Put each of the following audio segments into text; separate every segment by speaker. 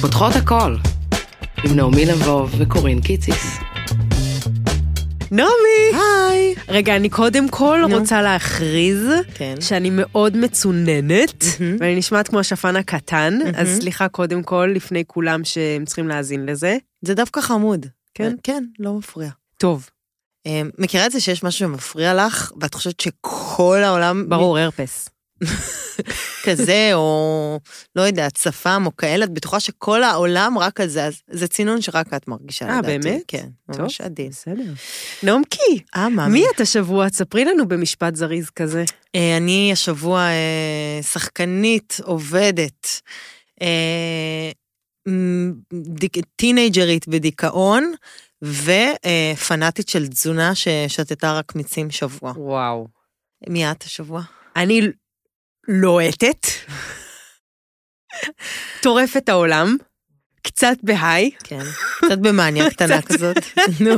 Speaker 1: צריכות הכל. עם נעמי לבוב וקורין קיציס.
Speaker 2: נעמי!
Speaker 3: היי!
Speaker 2: רגע, אני קודם כל
Speaker 3: נו.
Speaker 2: רוצה להכריז
Speaker 3: כן.
Speaker 2: שאני מאוד מצוננת, ואני נשמעת כמו השפן הקטן, אז סליחה קודם כל, לפני כולם שהם צריכים להאזין לזה.
Speaker 3: זה דווקא חמוד.
Speaker 2: כן?
Speaker 3: כן, לא מפריע.
Speaker 2: טוב,
Speaker 3: אה, מכירה את זה שיש משהו שמפריע לך, ואת חושבת שכל העולם...
Speaker 2: ברור, הרפס.
Speaker 3: כזה, או לא יודעת, שפם או כאלה, את בטוחה שכל העולם רק על זה, אז זה צינון שרק את מרגישה,
Speaker 2: אה,
Speaker 3: לדעתי.
Speaker 2: באמת?
Speaker 3: כן,
Speaker 2: טוב.
Speaker 3: ממש עדין.
Speaker 2: בסדר. נעמקי,
Speaker 3: אה, מה?
Speaker 2: מי את השבוע? תספרי לנו במשפט זריז כזה.
Speaker 3: אה, אני השבוע אה, שחקנית עובדת, אה, מ- דיק- טינג'רית בדיכאון, ופנאטית של תזונה ששתתה רק מיצים שבוע.
Speaker 2: וואו.
Speaker 3: מי את השבוע?
Speaker 2: אני לוהטת, טורפת את העולם, קצת בהיי,
Speaker 3: כן, קצת במאניה קטנה
Speaker 2: קצת.
Speaker 3: כזאת. נו.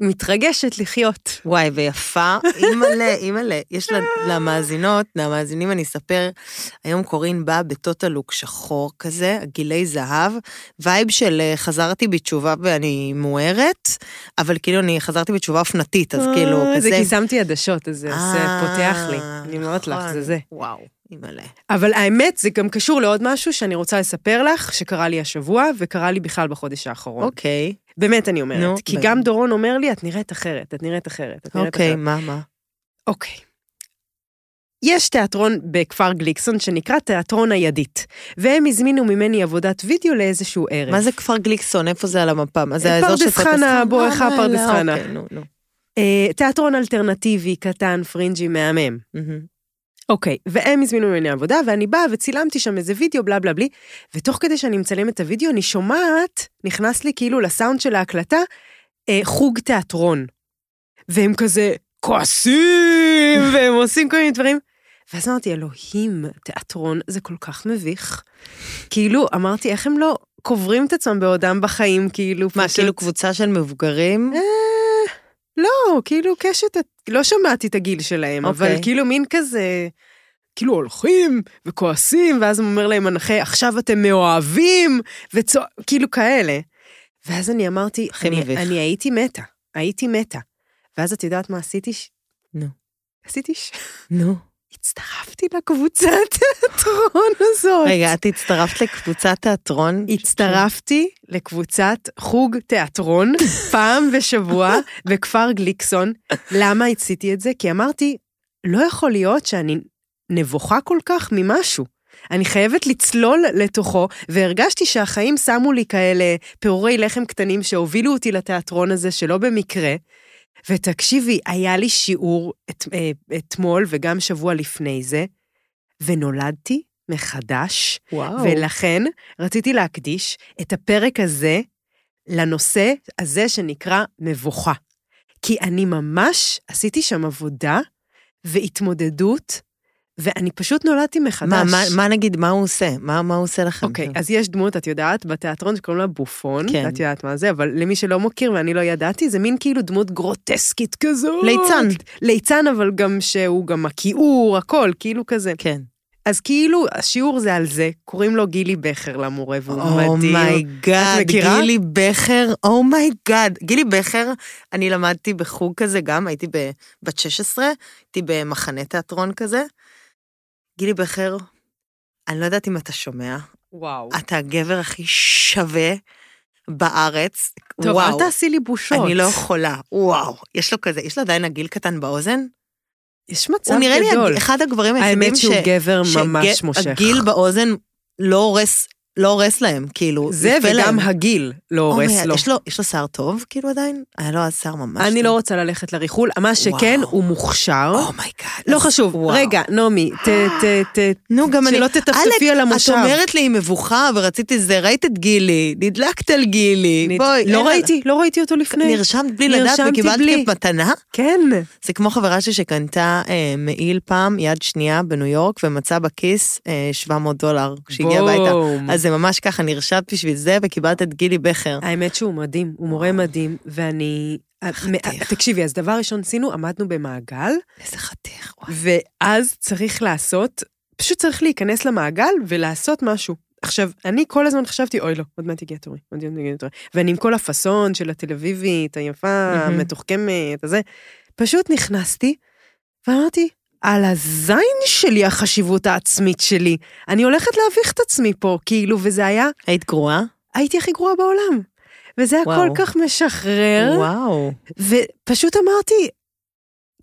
Speaker 2: ומתרגשת לחיות.
Speaker 3: וואי, ויפה, אימא'לה, אימא'לה. יש לה- למאזינות, למאזינים אני אספר, היום קורין באה בטוטה לוק שחור כזה, גילי זהב, וייב של אה, חזרתי בתשובה ואני מוארת, אבל כאילו אני חזרתי בתשובה אופנתית, אז כאילו,
Speaker 2: אה,
Speaker 3: כזה...
Speaker 2: זה כי שמתי עדשות, אז זה עושה-
Speaker 3: אה,
Speaker 2: פותח לי. אני אומרת לך,
Speaker 3: נכון.
Speaker 2: זה זה.
Speaker 3: וואו, אימא'לה.
Speaker 2: אבל האמת, זה גם קשור לעוד משהו שאני רוצה לספר לך, שקרה לי השבוע, וקרה לי בכלל בחודש האחרון.
Speaker 3: אוקיי,
Speaker 2: באמת, אני
Speaker 3: נו,
Speaker 2: אומרת. כי
Speaker 3: באמת.
Speaker 2: גם דורון אומר לי, את נראית אחרת, את נראית אחרת, את נראית אחרת.
Speaker 3: אוקיי, מה, מה?
Speaker 2: אוקיי. יש תיאטרון בכפר גליקסון שנקרא תיאטרון הידית, והם הזמינו ממני עבודת וידאו לאיזשהו ערב.
Speaker 3: מה זה כפר גליקסון? איפה זה על המפה? מה זה האזור של
Speaker 2: פרדס חנה, בואכה
Speaker 3: אה,
Speaker 2: פרדס
Speaker 3: וואלה,
Speaker 2: חנה.
Speaker 3: אוקיי, נו, נו.
Speaker 2: אה, תיאטרון אלטרנטיבי, קטן, פרינג'י, מהמם.
Speaker 3: מהמם.
Speaker 2: אוקיי, והם הזמינו ממני עבודה, ואני באה וצילמתי שם איזה וידאו, בלה בלה בלי, ותוך כדי שאני מצלמת את הוידאו, אני שומעת, נכנס לי כאילו לסאונד של ההקלטה, אה, חוג תיאטרון. והם כזה כועסים, והם עושים כל מיני דברים. ואז אמרתי, אלוהים, תיאטרון זה כל כך מביך. כאילו, אמרתי, איך הם לא קוברים את עצמם בעודם בחיים, כאילו,
Speaker 3: מה,
Speaker 2: פשוט-
Speaker 3: כאילו קבוצה של מבוגרים?
Speaker 2: אה, לא, כאילו קשת, לא שמעתי את הגיל שלהם, okay. אבל
Speaker 3: אוקיי.
Speaker 2: כאילו מין כזה, כאילו הולכים וכועסים, ואז הוא אומר להם הנכה, עכשיו אתם מאוהבים, וצוע... כאילו כאלה. ואז אני אמרתי,
Speaker 3: הכי
Speaker 2: אני,
Speaker 3: מביך.
Speaker 2: אני הייתי מתה, הייתי מתה. ואז את יודעת מה עשיתי? ש-
Speaker 3: נו.
Speaker 2: עשיתי ש...
Speaker 3: נו.
Speaker 2: הצטרפתי לקבוצת התיאטרון הזאת.
Speaker 3: רגע, את הצטרפת לקבוצת תיאטרון?
Speaker 2: הצטרפתי לקבוצת חוג תיאטרון פעם בשבוע בכפר גליקסון. למה עשיתי את זה? כי אמרתי, לא יכול להיות שאני נבוכה כל כך ממשהו. אני חייבת לצלול לתוכו, והרגשתי שהחיים שמו לי כאלה פירורי לחם קטנים שהובילו אותי לתיאטרון הזה שלא במקרה. ותקשיבי, היה לי שיעור את, אה, אתמול וגם שבוע לפני זה, ונולדתי מחדש
Speaker 3: וואו.
Speaker 2: ולכן רציתי להקדיש את הפרק הזה לנושא הזה שנקרא מבוכה. כי אני ממש עשיתי שם עבודה והתמודדות, ואני פשוט נולדתי מחדש.
Speaker 3: מה, מה, מה נגיד, מה הוא עושה? מה, מה הוא עושה לכם?
Speaker 2: אוקיי, אז יש דמות, את יודעת, בתיאטרון שקוראים לה בופון,
Speaker 3: כן.
Speaker 2: את יודעת מה זה, אבל למי שלא מכיר ואני לא ידעתי, זה מין כאילו דמות גרוטסקית כזאת.
Speaker 3: ליצן.
Speaker 2: ליצן, אבל גם שהוא גם הכיעור, הכל, כאילו כזה.
Speaker 3: כן.
Speaker 2: אז כאילו, השיעור זה על זה, קוראים לו גילי בכר למורה, והוא מדהים.
Speaker 3: אומייגאד,
Speaker 2: את מכירה?
Speaker 3: Oh גילי בכר, אומייגאד. גילי בכר, אני למדתי בחוג כזה גם, הייתי ב- בת 16, הייתי במחנה תיאטרון כזה. גילי בכר, אני לא יודעת אם אתה שומע,
Speaker 2: וואו.
Speaker 3: אתה הגבר הכי שווה בארץ.
Speaker 2: טוב,
Speaker 3: וואו.
Speaker 2: אל תעשי לי בושות.
Speaker 3: אני לא יכולה, וואו. יש לו כזה, יש לו עדיין עגיל קטן באוזן?
Speaker 2: יש מצב
Speaker 3: הוא נראה לי
Speaker 2: גדול.
Speaker 3: הג- אחד הגברים היחידים
Speaker 2: האמת שהוא גבר ממש
Speaker 3: שהגיל-
Speaker 2: מושך.
Speaker 3: הגיל באוזן לא הורס, לא הורס להם, כאילו.
Speaker 2: זה
Speaker 3: יפה
Speaker 2: וגם
Speaker 3: להם.
Speaker 2: הגיל לא
Speaker 3: אומי,
Speaker 2: הורס לו.
Speaker 3: Oh יש לו. יש לו שיער טוב, כאילו עדיין? היה לו אז שיער ממש
Speaker 2: אני לא
Speaker 3: טוב.
Speaker 2: רוצה ללכת לריחול, מה שכן,
Speaker 3: וואו.
Speaker 2: הוא מוכשר.
Speaker 3: אומייגאד.
Speaker 2: לא
Speaker 3: אז-
Speaker 2: חשוב,
Speaker 3: Oh וואו.
Speaker 2: רגע, נעמי, ת... ת... ת...
Speaker 3: נו, גם אני...
Speaker 2: שלא
Speaker 3: עלק,
Speaker 2: תטפטפי על המושב.
Speaker 3: את אומרת לי, היא מבוכה, ורציתי זה, ראית את גילי, נדלקת על גילי,
Speaker 2: אני-
Speaker 3: בואי.
Speaker 2: לא
Speaker 3: אין-
Speaker 2: ראיתי, לא ראיתי אותו לפני.
Speaker 3: נרשמת בלי לדעת
Speaker 2: נרשמתי
Speaker 3: וקיבלת
Speaker 2: בלי.
Speaker 3: מתנה?
Speaker 2: כן.
Speaker 3: זה כמו חברה שלי שקנתה אה, מעיל פעם, יד שנייה, בניו יורק, ומצאה בכיס אה, 700 דולר כשהגיעה הביתה.
Speaker 2: בום.
Speaker 3: אז זה ממש ככה, נרשמת בשביל זה וקיבלת את גילי בכר.
Speaker 2: האמת שהוא מדהים, הוא מורה מדהים, ואני...
Speaker 3: חתיך.
Speaker 2: תקשיבי, אז דבר ראשון עשינו, עמדנו במעגל,
Speaker 3: איזה חתיך. וואי.
Speaker 2: ואז צריך לעשות פשוט צריך להיכנס למעגל ולעשות משהו. עכשיו, אני כל הזמן חשבתי, אוי לא, עוד מעט הגיע תורי, עוד מעט הגיע תורי. ואני עם כל הפאסון של התל אביבית, היפה,
Speaker 3: מהמם.
Speaker 2: המתוחכמת, הזה. פשוט נכנסתי, ואמרתי, על הזין שלי החשיבות העצמית שלי. אני הולכת להביך את עצמי פה, כאילו, וזה היה,
Speaker 3: היית גרועה?
Speaker 2: הייתי הכי גרועה בעולם. וזה היה
Speaker 3: וואו.
Speaker 2: כל כך משחרר.
Speaker 3: וואו.
Speaker 2: ופשוט אמרתי,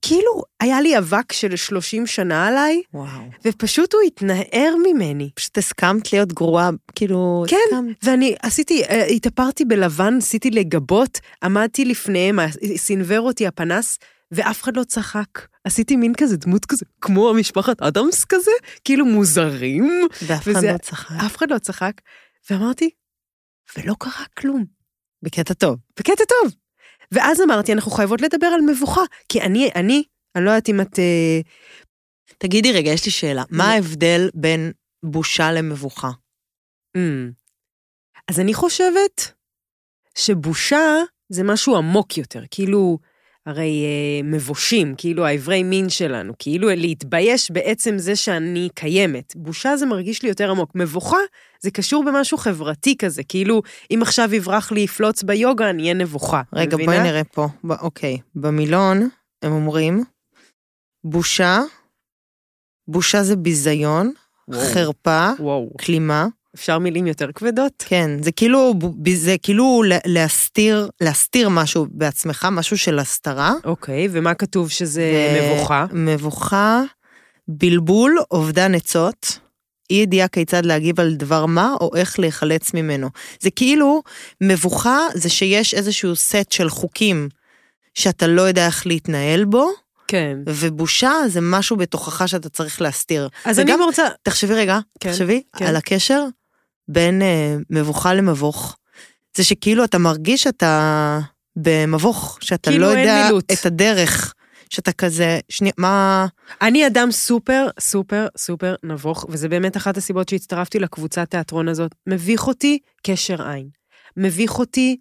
Speaker 2: כאילו, היה לי אבק של 30 שנה עליי,
Speaker 3: וואו.
Speaker 2: ופשוט הוא התנער ממני.
Speaker 3: פשוט הסכמת להיות גרועה, כאילו...
Speaker 2: כן.
Speaker 3: הסכמת.
Speaker 2: ואני עשיתי, אה, התאפרתי בלבן, ניסיתי לגבות, עמדתי לפניהם, ה- סנוור אותי הפנס, ואף אחד לא צחק. עשיתי מין כזה דמות כזה, כמו המשפחת אדמס כזה, כאילו מוזרים,
Speaker 3: ואף אחד
Speaker 2: וזה-
Speaker 3: לא צחק.
Speaker 2: אף אחד לא צחק. ואמרתי, ולא קרה כלום.
Speaker 3: בקטע טוב.
Speaker 2: בקטע טוב. ואז אמרתי, אנחנו חייבות לדבר על מבוכה, כי אני, אני, אני לא יודעת אם את... אה,
Speaker 3: תגידי רגע, יש לי שאלה. מה ההבדל בין בושה למבוכה?
Speaker 2: אמ. אז אני חושבת שבושה זה משהו עמוק יותר, כאילו, הרי אה, מבושים, כאילו האיברי מין שלנו, כאילו להתבייש בעצם זה שאני קיימת. בושה זה מרגיש לי יותר עמוק. מבוכה זה קשור במשהו חברתי כזה, כאילו, אם עכשיו יברח לי פלוץ ביוגה, אני אהיה נבוכה.
Speaker 3: רגע,
Speaker 2: מבינה?
Speaker 3: בואי נראה פה. ב- אוקיי. במילון הם אומרים, בושה, בושה זה ביזיון,
Speaker 2: וואו.
Speaker 3: חרפה,
Speaker 2: וואו.
Speaker 3: כלימה.
Speaker 2: אפשר מילים יותר כבדות?
Speaker 3: כן, זה כאילו, ב- זה כאילו לה- להסתיר, להסתיר משהו בעצמך, משהו של הסתרה.
Speaker 2: אוקיי, ומה כתוב שזה
Speaker 3: ו-
Speaker 2: מבוכה?
Speaker 3: מבוכה, בלבול, אובדן עצות, אי ידיעה כיצד להגיב על דבר מה או איך להיחלץ ממנו. זה כאילו, מבוכה זה שיש איזשהו סט של חוקים שאתה לא יודע איך להתנהל בו,
Speaker 2: כן.
Speaker 3: ובושה זה משהו בתוכך שאתה צריך להסתיר.
Speaker 2: אז אני
Speaker 3: וגם-
Speaker 2: רוצה...
Speaker 3: תחשבי רגע,
Speaker 2: כן,
Speaker 3: כן, תחשבי
Speaker 2: כן.
Speaker 3: כן. על הקשר בין אה, מבוכה למבוך. זה שכאילו אתה מרגיש שאתה במבוך, שאתה
Speaker 2: כאילו
Speaker 3: לא
Speaker 2: אין
Speaker 3: יודע
Speaker 2: מילוט.
Speaker 3: את הדרך, שאתה כזה, שנייה, מה...
Speaker 2: אני אדם סופר, סופר, סופר נבוך, וזה באמת אחת הסיבות שהצטרפתי לקבוצת תיאטרון הזאת. מביך אותי קשר עין. מביך אותי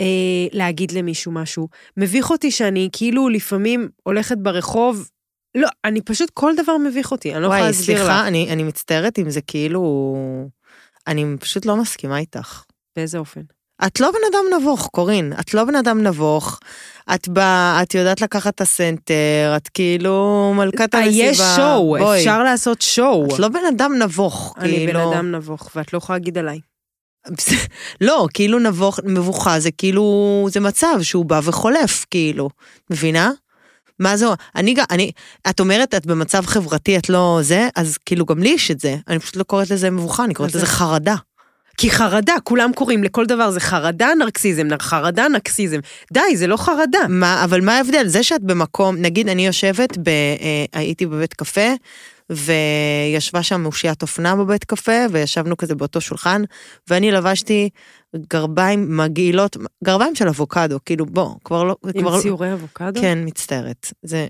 Speaker 2: אה, להגיד למישהו משהו. מביך אותי שאני כאילו לפעמים הולכת ברחוב, לא, אני פשוט, כל דבר מביך אותי, אני לא יכולה
Speaker 3: וואי,
Speaker 2: להסביר לך.
Speaker 3: אוקיי, סליחה, אני, אני מצטערת אם זה כאילו... אני פשוט לא מסכימה איתך.
Speaker 2: באיזה אופן?
Speaker 3: את לא בן אדם נבוך, קורין. את לא בן אדם נבוך. את באה, את יודעת לקחת את הסנטר, את כאילו מלכת
Speaker 2: אה,
Speaker 3: המסיבה.
Speaker 2: יש שואו,
Speaker 3: בואי.
Speaker 2: אפשר לעשות שואו.
Speaker 3: את לא בן אדם נבוך,
Speaker 2: אני בן
Speaker 3: כאילו.
Speaker 2: אדם נבוך, ואת לא יכולה להגיד עליי.
Speaker 3: לא, כאילו נבוך, מבוכה זה כאילו, זה מצב שהוא בא וחולף, כאילו. מבינה? מה זו? אני גם, אני, את אומרת, את במצב חברתי, את לא זה, אז כאילו גם לי יש את זה. אני פשוט לא קוראת לזה מבוכה, אני קוראת
Speaker 2: אז
Speaker 3: לזה
Speaker 2: איך?
Speaker 3: חרדה.
Speaker 2: כי חרדה, כולם קוראים לכל דבר, זה חרדה נרקסיזם, נר- חרדה נרקסיזם. די, זה לא חרדה.
Speaker 3: מה, אבל מה ההבדל? זה שאת במקום, נגיד אני יושבת, ב, אה, הייתי בבית קפה, וישבה שם מאושיית אופנה בבית קפה, וישבנו כזה באותו שולחן, ואני לבשתי גרביים מגעילות, גרביים של אבוקדו, כאילו בוא, כבר לא,
Speaker 2: עם
Speaker 3: כבר,
Speaker 2: ציורי אבוקדו?
Speaker 3: כן, מצטערת. זה,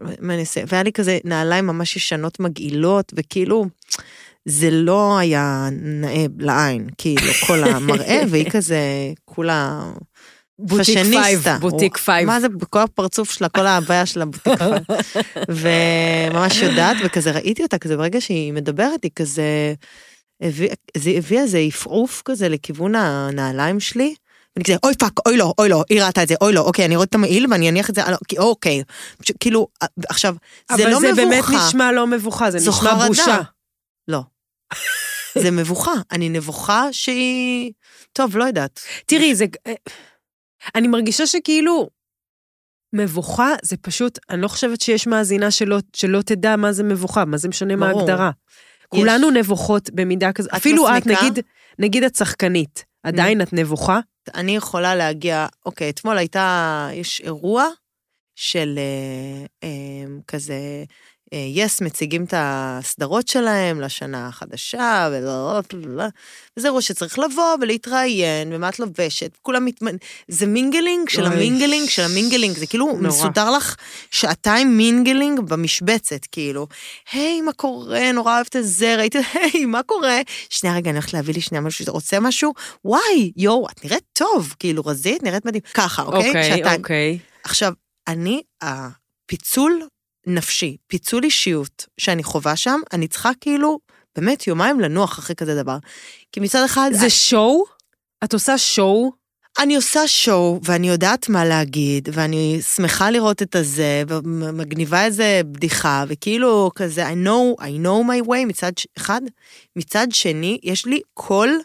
Speaker 3: מה אני אעשה? והיה לי כזה נעליים ממש ישנות מגעילות, וכאילו, זה לא היה נאה לעין, כאילו, כל המראה, והיא כזה, כולה...
Speaker 2: בוטיק פייב,
Speaker 3: פאשניסטה.
Speaker 2: בוטיק פייב.
Speaker 3: מה זה, כל הפרצוף שלה, כל ההוויה שלה בוטיק פייב. וממש יודעת, וכזה ראיתי אותה כזה, ברגע שהיא מדברת, היא כזה... הביא- זה הביא איזה עפעוף כזה לכיוון הנעליים שלי. ואני כזה, אוי פאק, אוי לא, אוי לא, היא ראתה את זה, אוי לא, אוקיי, אני אוריד את המעיל ואני אניח את זה, על ה- כי- אוקיי. פשוט, כאילו, אה, עכשיו, זה לא
Speaker 2: אבל זה באמת
Speaker 3: מבוכה,
Speaker 2: נשמע לא מבוכה, זה
Speaker 3: זו
Speaker 2: נשמע
Speaker 3: חרדה.
Speaker 2: בושה.
Speaker 3: זה מבוכה. אני נבוכה שהיא... טוב, לא יודעת.
Speaker 2: תראי, זה... אה, אני מרגישה שכאילו... מבוכה זה פשוט, אני לא חושבת שיש מאזינה שלא, שלא תדע מה זה מבוכה, מה זה משנה מה
Speaker 3: ברור.
Speaker 2: ההגדרה. כולנו נבוכות במידה כזאת.
Speaker 3: את
Speaker 2: אפילו את,
Speaker 3: מסמיקה?
Speaker 2: נגיד, נגיד את שחקנית, עדיין את נבוכה?
Speaker 3: אני יכולה להגיע, אוקיי, אתמול הייתה, יש אירוע של אה, אה, כזה, אה, יס מציגים את הסדרות שלהם לשנה החדשה, ולא, לא, וזה אירוע שצריך לבוא ולהתראיין, ומה את לובשת, כולם מתמנ... זה מינגלינג של
Speaker 2: אוי.
Speaker 3: המינגלינג של המינגלינג, זה כאילו
Speaker 2: נורא.
Speaker 3: מסודר לך שעתיים מינגלינג במשבצת, כאילו, היי, מה קורה, נורא אוהבת את זה, ראיתי, היי, מה קורה? שנייה, רגע, אני הולכת להביא לי שנייה משהו, רוצה משהו? וואי, יואו, את נראית טוב, כאילו, אוקיי? רזית, נראית מדהים. ככה, אוקיי? שעתיים.
Speaker 2: אוקיי.
Speaker 3: עכשיו, אני, הפיצול נפשי, פיצול אישיות שאני חווה שם, אני צריכה כאילו באמת יומיים לנוח אחרי כזה דבר. כי מצד אחד,
Speaker 2: זה שואו? את עושה שואו?
Speaker 3: אני עושה שואו, ואני יודעת מה להגיד, ואני שמחה לראות את הזה, ומגניבה איזה בדיחה, וכאילו כזה, I know, I know my way מצד ש- אחד. מצד שני, יש לי קול,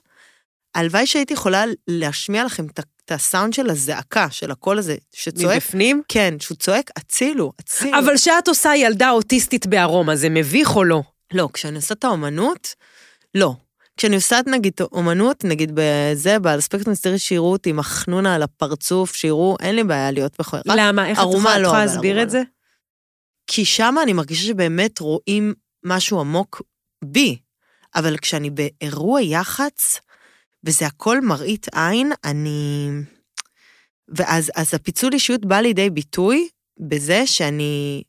Speaker 3: הלוואי שהייתי יכולה להשמיע לכם את ה- את הסאונד של הזעקה, של הקול הזה, שצועק,
Speaker 2: מבפנים?
Speaker 3: כן, שהוא צועק, הצילו, הצילו.
Speaker 2: אבל שאת עושה ילדה אוטיסטית בארומה, זה מביך או לא?
Speaker 3: לא, כשאני עושה את האומנות, לא. כשאני עושה נגיד את אומנות, נגיד בזה, באספקט מסתיר שיראו אותי עם החנונה על הפרצוף, שיראו, אין לי בעיה להיות בכלל. רק
Speaker 2: למה? איך את
Speaker 3: ערומה
Speaker 2: יכולה- את
Speaker 3: לא,
Speaker 2: יכולה
Speaker 3: אבל
Speaker 2: להסביר
Speaker 3: ערומה
Speaker 2: את זה?
Speaker 3: כי שם אני מרגישה שבאמת רואים משהו עמוק בי. אבל כשאני באירוע יח"צ, וזה הכל מראית עין, אני... ואז אז הפיצול אישיות בא לידי ביטוי בזה שאני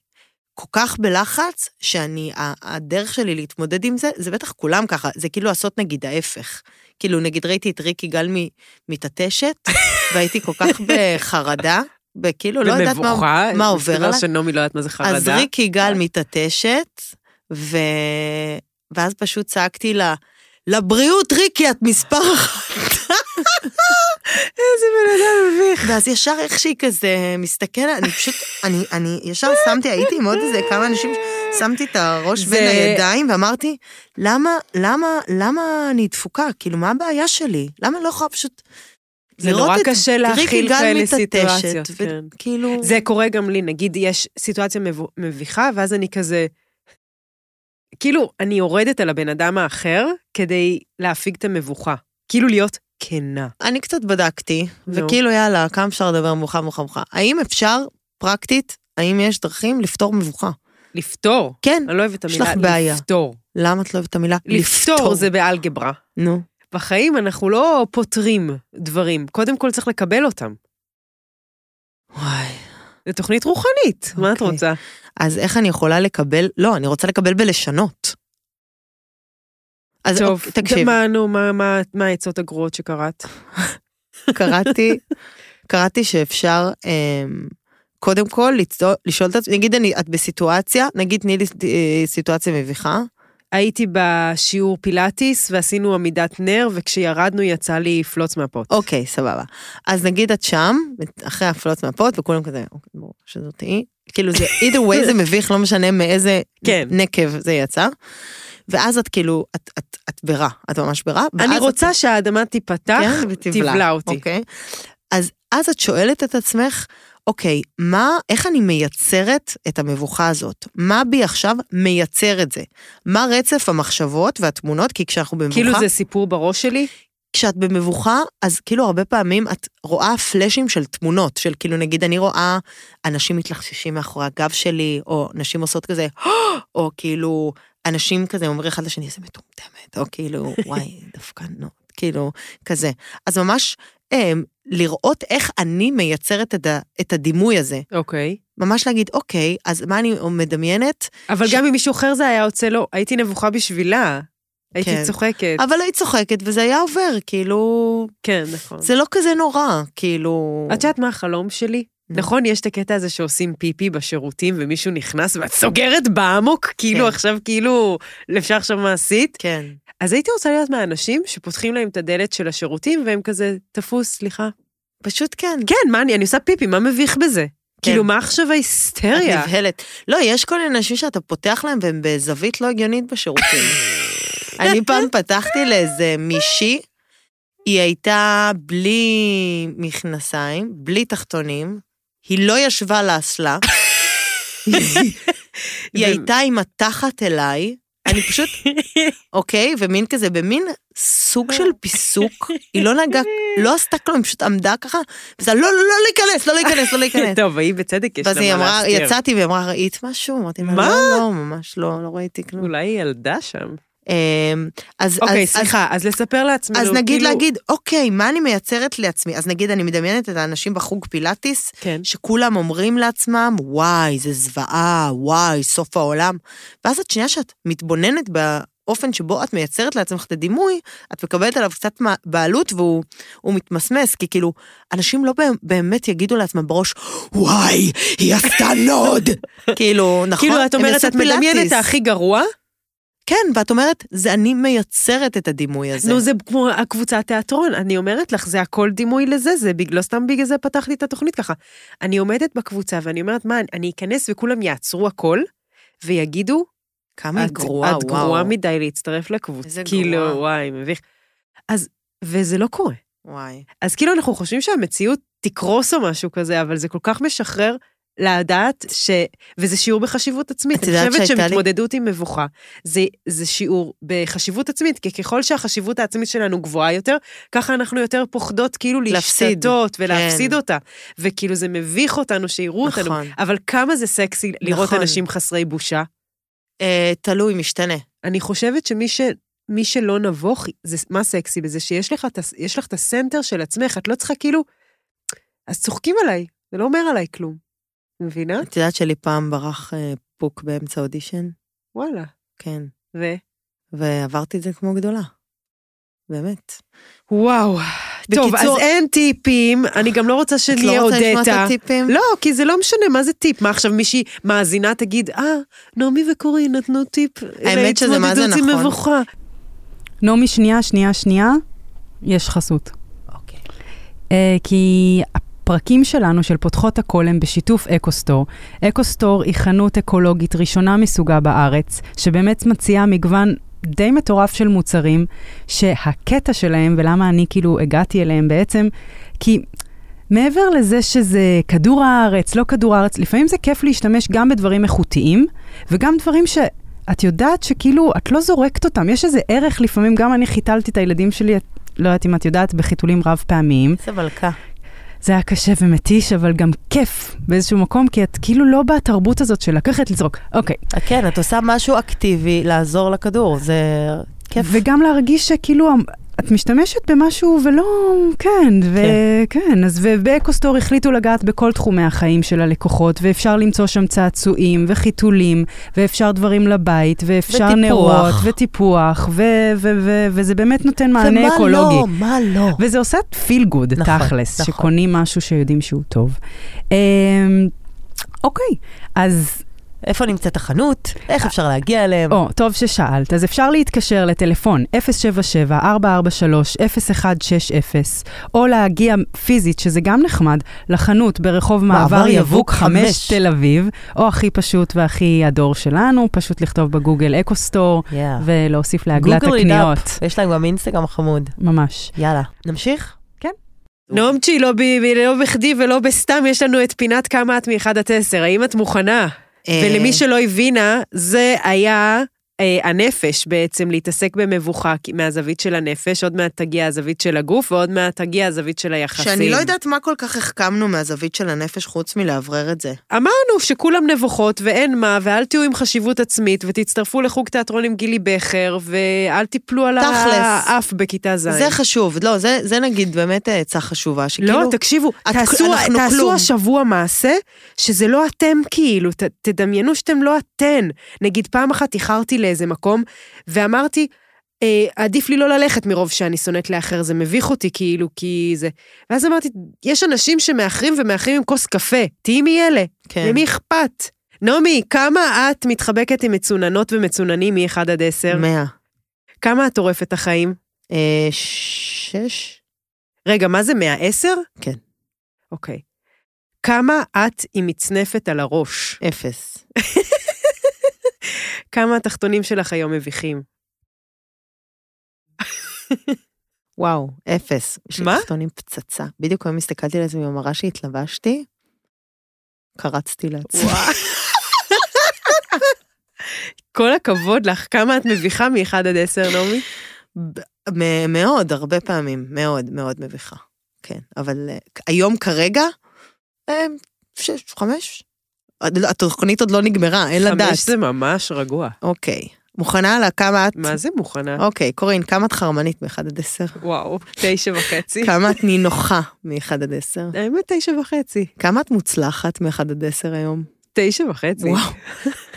Speaker 3: כל כך בלחץ, שאני, ה- הדרך שלי להתמודד עם זה, זה בטח כולם ככה, זה כאילו לעשות נגיד ההפך. כאילו, נגיד ראיתי את ריקי גל מ- מתעטשת, והייתי כל כך בחרדה, וכאילו לא יודעת מה...
Speaker 2: במבוכה,
Speaker 3: מה עובר
Speaker 2: מסתבר
Speaker 3: עליי.
Speaker 2: שנעמי לא יודעת מה זה חרדה.
Speaker 3: אז ריקי גל
Speaker 2: כן.
Speaker 3: מתעטשת, ו... ואז פשוט צעקתי לה, לבריאות, ריקי, את מספר אחת.
Speaker 2: איזה בן אדם מביך.
Speaker 3: ואז ישר איך שהיא כזה מסתכלת, אני פשוט, אני, אני ישר שמתי, הייתי עם עוד איזה כמה אנשים, שמתי את הראש
Speaker 2: זה-
Speaker 3: בין הידיים ואמרתי, למה, למה, למה אני דפוקה? כאילו, מה הבעיה שלי? למה אני לא יכולה פשוט...
Speaker 2: זה
Speaker 3: לראות
Speaker 2: נורא
Speaker 3: את
Speaker 2: קשה
Speaker 3: ריקי
Speaker 2: להכיל
Speaker 3: גל
Speaker 2: כאלה
Speaker 3: מתעטשת,
Speaker 2: סיטואציות,
Speaker 3: ו-
Speaker 2: כן.
Speaker 3: כאילו...
Speaker 2: זה קורה גם לי, נגיד יש סיטואציה מבו- מביכה, ואז אני כזה... כאילו, אני יורדת על הבן אדם האחר כדי להפיג את המבוכה. כאילו להיות כנה.
Speaker 3: אני קצת בדקתי,
Speaker 2: נו.
Speaker 3: וכאילו יאללה, כמה אפשר לדבר מבוכה מבוכה מבוכה. האם אפשר, פרקטית, האם יש דרכים לפתור מבוכה?
Speaker 2: לפתור.
Speaker 3: כן.
Speaker 2: אני לא אוהבת את
Speaker 3: יש
Speaker 2: המילה
Speaker 3: לך בעיה.
Speaker 2: לפתור.
Speaker 3: למה את לא אוהבת את המילה
Speaker 2: לפתור זה באלגברה.
Speaker 3: נו.
Speaker 2: בחיים אנחנו לא פותרים דברים, קודם כל צריך לקבל אותם.
Speaker 3: וואי.
Speaker 2: זו תוכנית רוחנית, מה את
Speaker 3: אוקיי.
Speaker 2: רוצה?
Speaker 3: אז איך אני יכולה לקבל, לא, אני רוצה לקבל בלשנות. אז
Speaker 2: טוב,
Speaker 3: אוקיי, תקשיב,
Speaker 2: מה, נו, מה- מה- מה העצות הגרועות שקראת?
Speaker 3: קראתי, קראתי שאפשר אמ, קודם כל לצדו- לשאול את עצמי, נגיד אני, את בסיטואציה, נגיד תני לי אה, סיטואציה מביכה,
Speaker 2: הייתי בשיעור פילאטיס ועשינו עמידת נר, וכשירדנו יצא לי פלוץ מהפוט.
Speaker 3: אוקיי, סבבה. אז נגיד את שם, אחרי הפלוץ מהפוט, וכולם כזה, אוקיי, ברור שזאת היא. כאילו זה, either way זה מביך, לא משנה מאיזה
Speaker 2: כן.
Speaker 3: נקב זה יצא. ואז את כאילו, את, את, את ברע, את ממש ברע. ואז
Speaker 2: אני
Speaker 3: את-
Speaker 2: רוצה שהאדמה תיפתח,
Speaker 3: כן, ותבלע.
Speaker 2: תבלע אותי.
Speaker 3: אוקיי. אז, אז את שואלת את עצמך, אוקיי, מה, איך אני מייצרת את המבוכה הזאת? מה בי עכשיו מייצר את זה? מה רצף המחשבות והתמונות? כי כשאנחנו במבוכה...
Speaker 2: כאילו זה סיפור בראש שלי?
Speaker 3: כשאת במבוכה, אז כאילו הרבה פעמים את רואה פלאשים של תמונות, של כאילו נגיד אני רואה אנשים מתלחששים מאחורי הגב שלי, או נשים עושות כזה, או כאילו אנשים כזה אומרים אחד לשני, איזה מטומטמת, או כאילו, וואי, דווקא נו, כאילו, כזה. אז ממש אה, לראות איך אני מייצרת את, ה, את הדימוי הזה.
Speaker 2: אוקיי.
Speaker 3: ממש להגיד, אוקיי, אז מה אני מדמיינת?
Speaker 2: אבל
Speaker 3: ש-
Speaker 2: גם אם מישהו אחר זה היה יוצא לו, הייתי נבוכה בשבילה. הייתי
Speaker 3: כן.
Speaker 2: צוחקת.
Speaker 3: אבל היית צוחקת וזה היה עובר, כאילו,
Speaker 2: כן, נכון.
Speaker 3: זה לא כזה נורא, כאילו...
Speaker 2: את יודעת מה החלום שלי?
Speaker 3: נו.
Speaker 2: נכון, יש את הקטע הזה שעושים פיפי בשירותים ומישהו נכנס ואת סוגרת באמוק, כאילו
Speaker 3: כן.
Speaker 2: עכשיו כאילו, אפשר עכשיו מעשית?
Speaker 3: כן.
Speaker 2: אז הייתי רוצה להיות מהאנשים שפותחים להם את הדלת של השירותים והם כזה, תפוס, סליחה.
Speaker 3: פשוט כן.
Speaker 2: כן, מה אני, אני עושה פיפי, מה מביך בזה? כאילו, מה עכשיו ההיסטריה?
Speaker 3: את נבהלת. לא, יש כל מיני אנשים שאתה פותח להם והם בזווית לא הגיונית בשירותים. אני פעם פתחתי לאיזה מישהי, היא הייתה בלי מכנסיים, בלי תחתונים, היא לא ישבה לאסלה, היא
Speaker 2: ו-
Speaker 3: הייתה עם התחת אליי, אני פשוט, אוקיי, ומין כזה, במין סוג של פיסוק, היא לא נגעה, לא עשתה כלום, היא פשוט עמדה ככה, וזה לא, לא, לא להיכנס, לא להיכנס, לא להיכנס.
Speaker 2: כן, טוב, היא בצדק, יש
Speaker 3: ואז היא
Speaker 2: לה מה
Speaker 3: אמרה,
Speaker 2: להסתיר.
Speaker 3: יצאתי והיא אמרה, ראית משהו? אמרתי לה,
Speaker 2: מה?
Speaker 3: לא, לא, ממש לא, לא ראיתי כלום.
Speaker 2: אולי היא ילדה שם.
Speaker 3: אמ, אז,
Speaker 2: אוקיי,
Speaker 3: אז- אז-
Speaker 2: סליחה, אז לספר לעצמנו,
Speaker 3: אז נגיד
Speaker 2: כאילו-
Speaker 3: להגיד, אוקיי, מה אני מייצרת לעצמי? אז נגיד, אני מדמיינת את האנשים בחוג פילאטיס,
Speaker 2: כן.
Speaker 3: שכולם אומרים לעצמם, וואי, זה זוועה, וואי, סוף העולם. ואז את שנייה שאת מתבוננת ב... האופן שבו את מייצרת לעצמך את הדימוי, את מקבלת עליו קצת מה- בעלות והוא הוא מתמסמס, כי כאילו, אנשים לא באמ- באמת יגידו לעצמם בראש, וואי, היא עשתה נוד. כאילו, נכון?
Speaker 2: כאילו, את
Speaker 3: הם
Speaker 2: אומרת,
Speaker 3: יעשו
Speaker 2: את מדמיינת את
Speaker 3: פילאטיס.
Speaker 2: הכי גרוע,
Speaker 3: כן, ואת אומרת, זה אני מייצרת את הדימוי הזה.
Speaker 2: נו, זה כמו הקבוצת תיאטרון. אני אומרת לך, זה הכל דימוי לזה, זה בג... לא סתם בגלל זה פתחתי את התוכנית ככה. אני עומדת בקבוצה ואני אומרת, מה, אני אכנס וכולם יעצרו הכל, ויגידו,
Speaker 3: כמה היא
Speaker 2: את-
Speaker 3: גרועה,
Speaker 2: את
Speaker 3: וואו.
Speaker 2: גרועה מדי להצטרף לקבוצה.
Speaker 3: איזה
Speaker 2: כאילו,
Speaker 3: גרועה.
Speaker 2: וואי, מביך. אז, וזה לא קורה.
Speaker 3: וואי.
Speaker 2: אז כאילו אנחנו חושבים שהמציאות תקרוס או משהו כזה, אבל זה כל כך משחרר לדעת ש... וזה שיעור בחשיבות עצמית.
Speaker 3: את
Speaker 2: אני
Speaker 3: יודעת
Speaker 2: חושבת
Speaker 3: שהייתה לי-
Speaker 2: שמתמודדות עם מבוכה זה, זה שיעור בחשיבות עצמית, כי ככל שהחשיבות העצמית שלנו גבוהה יותר, ככה אנחנו יותר פוחדות כאילו
Speaker 3: להפסיד.
Speaker 2: להשתתות ולהפסיד
Speaker 3: כן.
Speaker 2: אותה. וכאילו זה מביך אותנו שיראו אותנו.
Speaker 3: נכון.
Speaker 2: אבל כמה זה סקסי לראות
Speaker 3: נכון.
Speaker 2: אנשים חסרי בושה.
Speaker 3: אה, תלוי, משתנה.
Speaker 2: אני חושבת שמי ש... מי שלא נבוך, זה, מה סקסי בזה? שיש לך, את הס- יש לך את הסנטר של עצמך, את לא צריכה כאילו... אז צוחקים עליי, זה לא אומר עליי כלום. מבינה?
Speaker 3: את יודעת שלי פעם ברח אה, פוק באמצע אודישן?
Speaker 2: וואלה.
Speaker 3: כן.
Speaker 2: ו...
Speaker 3: ועברתי את זה כמו גדולה. באמת.
Speaker 2: וואו. טוב,
Speaker 3: בקיצור-
Speaker 2: אז אין טיפים, אני גם לא רוצה
Speaker 3: את לא
Speaker 2: שנהיה
Speaker 3: רוצה לשמוע את
Speaker 2: אודטה.
Speaker 3: הטיפים?
Speaker 2: לא, כי זה לא משנה, מה זה טיפ? מה עכשיו מישהי מאזינה תגיד, אה, נעמי וקורי נתנו טיפ
Speaker 3: האמת שזה מה זה
Speaker 2: להתמודדות עם
Speaker 3: נכון.
Speaker 2: מבוכה.
Speaker 4: נעמי, שנייה, שנייה, שנייה, יש חסות.
Speaker 3: אוקיי.
Speaker 4: אה, כי הפרקים שלנו של פותחות הכל הם בשיתוף אקו-סטור. אקו-סטור היא חנות אקולוגית ראשונה מסוגה בארץ, שבאמת מציעה מגוון די מטורף של מוצרים, שהקטע שלהם, ולמה אני כאילו הגעתי אליהם בעצם, כי... מעבר לזה שזה כדור הארץ, לא כדור הארץ, לפעמים זה כיף להשתמש גם בדברים איכותיים, וגם דברים שאת יודעת שכאילו, את לא זורקת אותם. יש איזה ערך לפעמים, גם אני חיתלתי את הילדים שלי, את- לא יודעת אם את יודעת, בחיתולים רב פעמיים.
Speaker 3: איזה מלכה.
Speaker 4: זה היה קשה ומתיש, אבל גם כיף באיזשהו מקום, כי את כאילו לא בתרבות הזאת של לקחת לזרוק. אוקיי.
Speaker 5: כן, את עושה משהו אקטיבי לעזור לכדור, זה כיף.
Speaker 4: וגם להרגיש שכאילו... המ- את משתמשת במשהו ולא, כן, וכן, אז ובאקוסטור החליטו לגעת בכל תחומי החיים של הלקוחות, ואפשר למצוא שם צעצועים וחיתולים, ואפשר דברים לבית, ואפשר
Speaker 5: וטיפוח.
Speaker 4: נרות, וטיפוח, ו- ו- ו- וזה באמת נותן מענה
Speaker 5: ומה
Speaker 4: אקולוגי.
Speaker 5: לא, מה לא.
Speaker 4: וזה עושה פיל גוד,
Speaker 5: נכון,
Speaker 4: תכלס,
Speaker 5: נכון.
Speaker 4: שקונים משהו שיודעים שהוא טוב. אמ, אוקיי, אז
Speaker 5: איפה נמצאת החנות? איך אפשר להגיע אליהם?
Speaker 4: או, טוב ששאלת, אז אפשר להתקשר לטלפון 077-443-0160, או להגיע פיזית, שזה גם נחמד, לחנות ברחוב
Speaker 5: מעבר
Speaker 4: מעבר יבוק
Speaker 5: יבוק
Speaker 4: 5
Speaker 5: חמש.
Speaker 4: תל אביב, או הכי פשוט והכי הדור שלנו, פשוט לכתוב בגוגל אקו סטור,
Speaker 5: יאה.
Speaker 4: ולהוסיף לעגלת
Speaker 5: גוגל it
Speaker 4: הקניות.
Speaker 5: up. יש להם גם אינסטגרם חמוד.
Speaker 4: ממש.
Speaker 5: יאללה, נמשיך?
Speaker 2: נעמצ'י, לא, ב- לא בכדי ולא בסתם, יש לנו את פינת כמה את מאחד עד עשר, האם את מוכנה?
Speaker 3: אה,
Speaker 2: ולמי שלא הבינה, זה היה אה, הנפש בעצם, להתעסק במבוכה כי- מהזווית של הנפש, עוד מעט תגיע הזווית של הגוף, ועוד מעט תגיע הזווית של היחסים.
Speaker 3: שאני לא יודעת מה כל כך החכמנו מהזווית של הנפש חוץ מלאוורר את זה.
Speaker 2: אמרנו שכולם נבוכות ואין מה, ואל תהיו עם חשיבות עצמית, ותצטרפו לחוג תיאטרון עם גילי בכר, ואל תיפלו על
Speaker 3: תכלס.
Speaker 2: האף בכיתה ז'.
Speaker 3: זה חשוב, לא, זה, זה נגיד באמת אה, עצה חשובה, שכאילו...
Speaker 2: לא, תקשיבו,
Speaker 3: את-
Speaker 2: תעשו,
Speaker 3: אנחנו
Speaker 2: תעשו
Speaker 3: כלום.
Speaker 2: השבוע מעשה שזה לא אתם כאילו, ת, תדמיינו שאתם לא אתן. נגיד, פעם אחת איחרתי לאיזה מקום, ואמרתי, אה, עדיף לי לא ללכת מרוב שאני שונאת לאחר, זה מביך אותי כאילו, כי זה... ואז אמרתי, יש אנשים שמאחרים ומאחרים עם כוס קפה, תהיי מאלה,
Speaker 3: כן.
Speaker 2: למי אכפת? נעמי, כמה את מתחבקת עם מצוננות ומצוננים מ-1 עד 10?
Speaker 3: מאה.
Speaker 2: כמה את עורפת את החיים?
Speaker 3: אה, שש?
Speaker 2: רגע, מה זה 110?
Speaker 3: כן.
Speaker 2: אוקיי. כמה את עם מצנפת על הראש?
Speaker 3: אפס.
Speaker 2: כמה התחתונים שלך היום מביכים?
Speaker 3: וואו, אפס. יש לי
Speaker 2: מה?
Speaker 3: תחתונים פצצה. בדיוק היום הסתכלתי על עצמי במראה שהתלבשתי, קרצתי לעצמי.
Speaker 2: כל הכבוד לך, כמה את מביכה מ-1 עד 10, נעמי?
Speaker 3: מ- מאוד, הרבה פעמים, מאוד מאוד מביכה. כן, אבל אה, היום כרגע, אה, שש, חמש? עד- לא, התוכנית עוד לא נגמרה, אין לדעת.
Speaker 2: חמש זה ממש רגוע.
Speaker 3: אוקיי. מוכנה על כמה את?
Speaker 2: מה זה מוכנה?
Speaker 3: אוקיי, קורין, כמה את חרמנית מ-1 עד 10?
Speaker 2: וואו, תשע וחצי.
Speaker 3: כמה את נינוחה מ-1 עד 10?
Speaker 2: האמת, תשע וחצי.
Speaker 3: כמה את מוצלחת מ-1 עד 10 היום?
Speaker 2: תשע וחצי.
Speaker 3: וואו.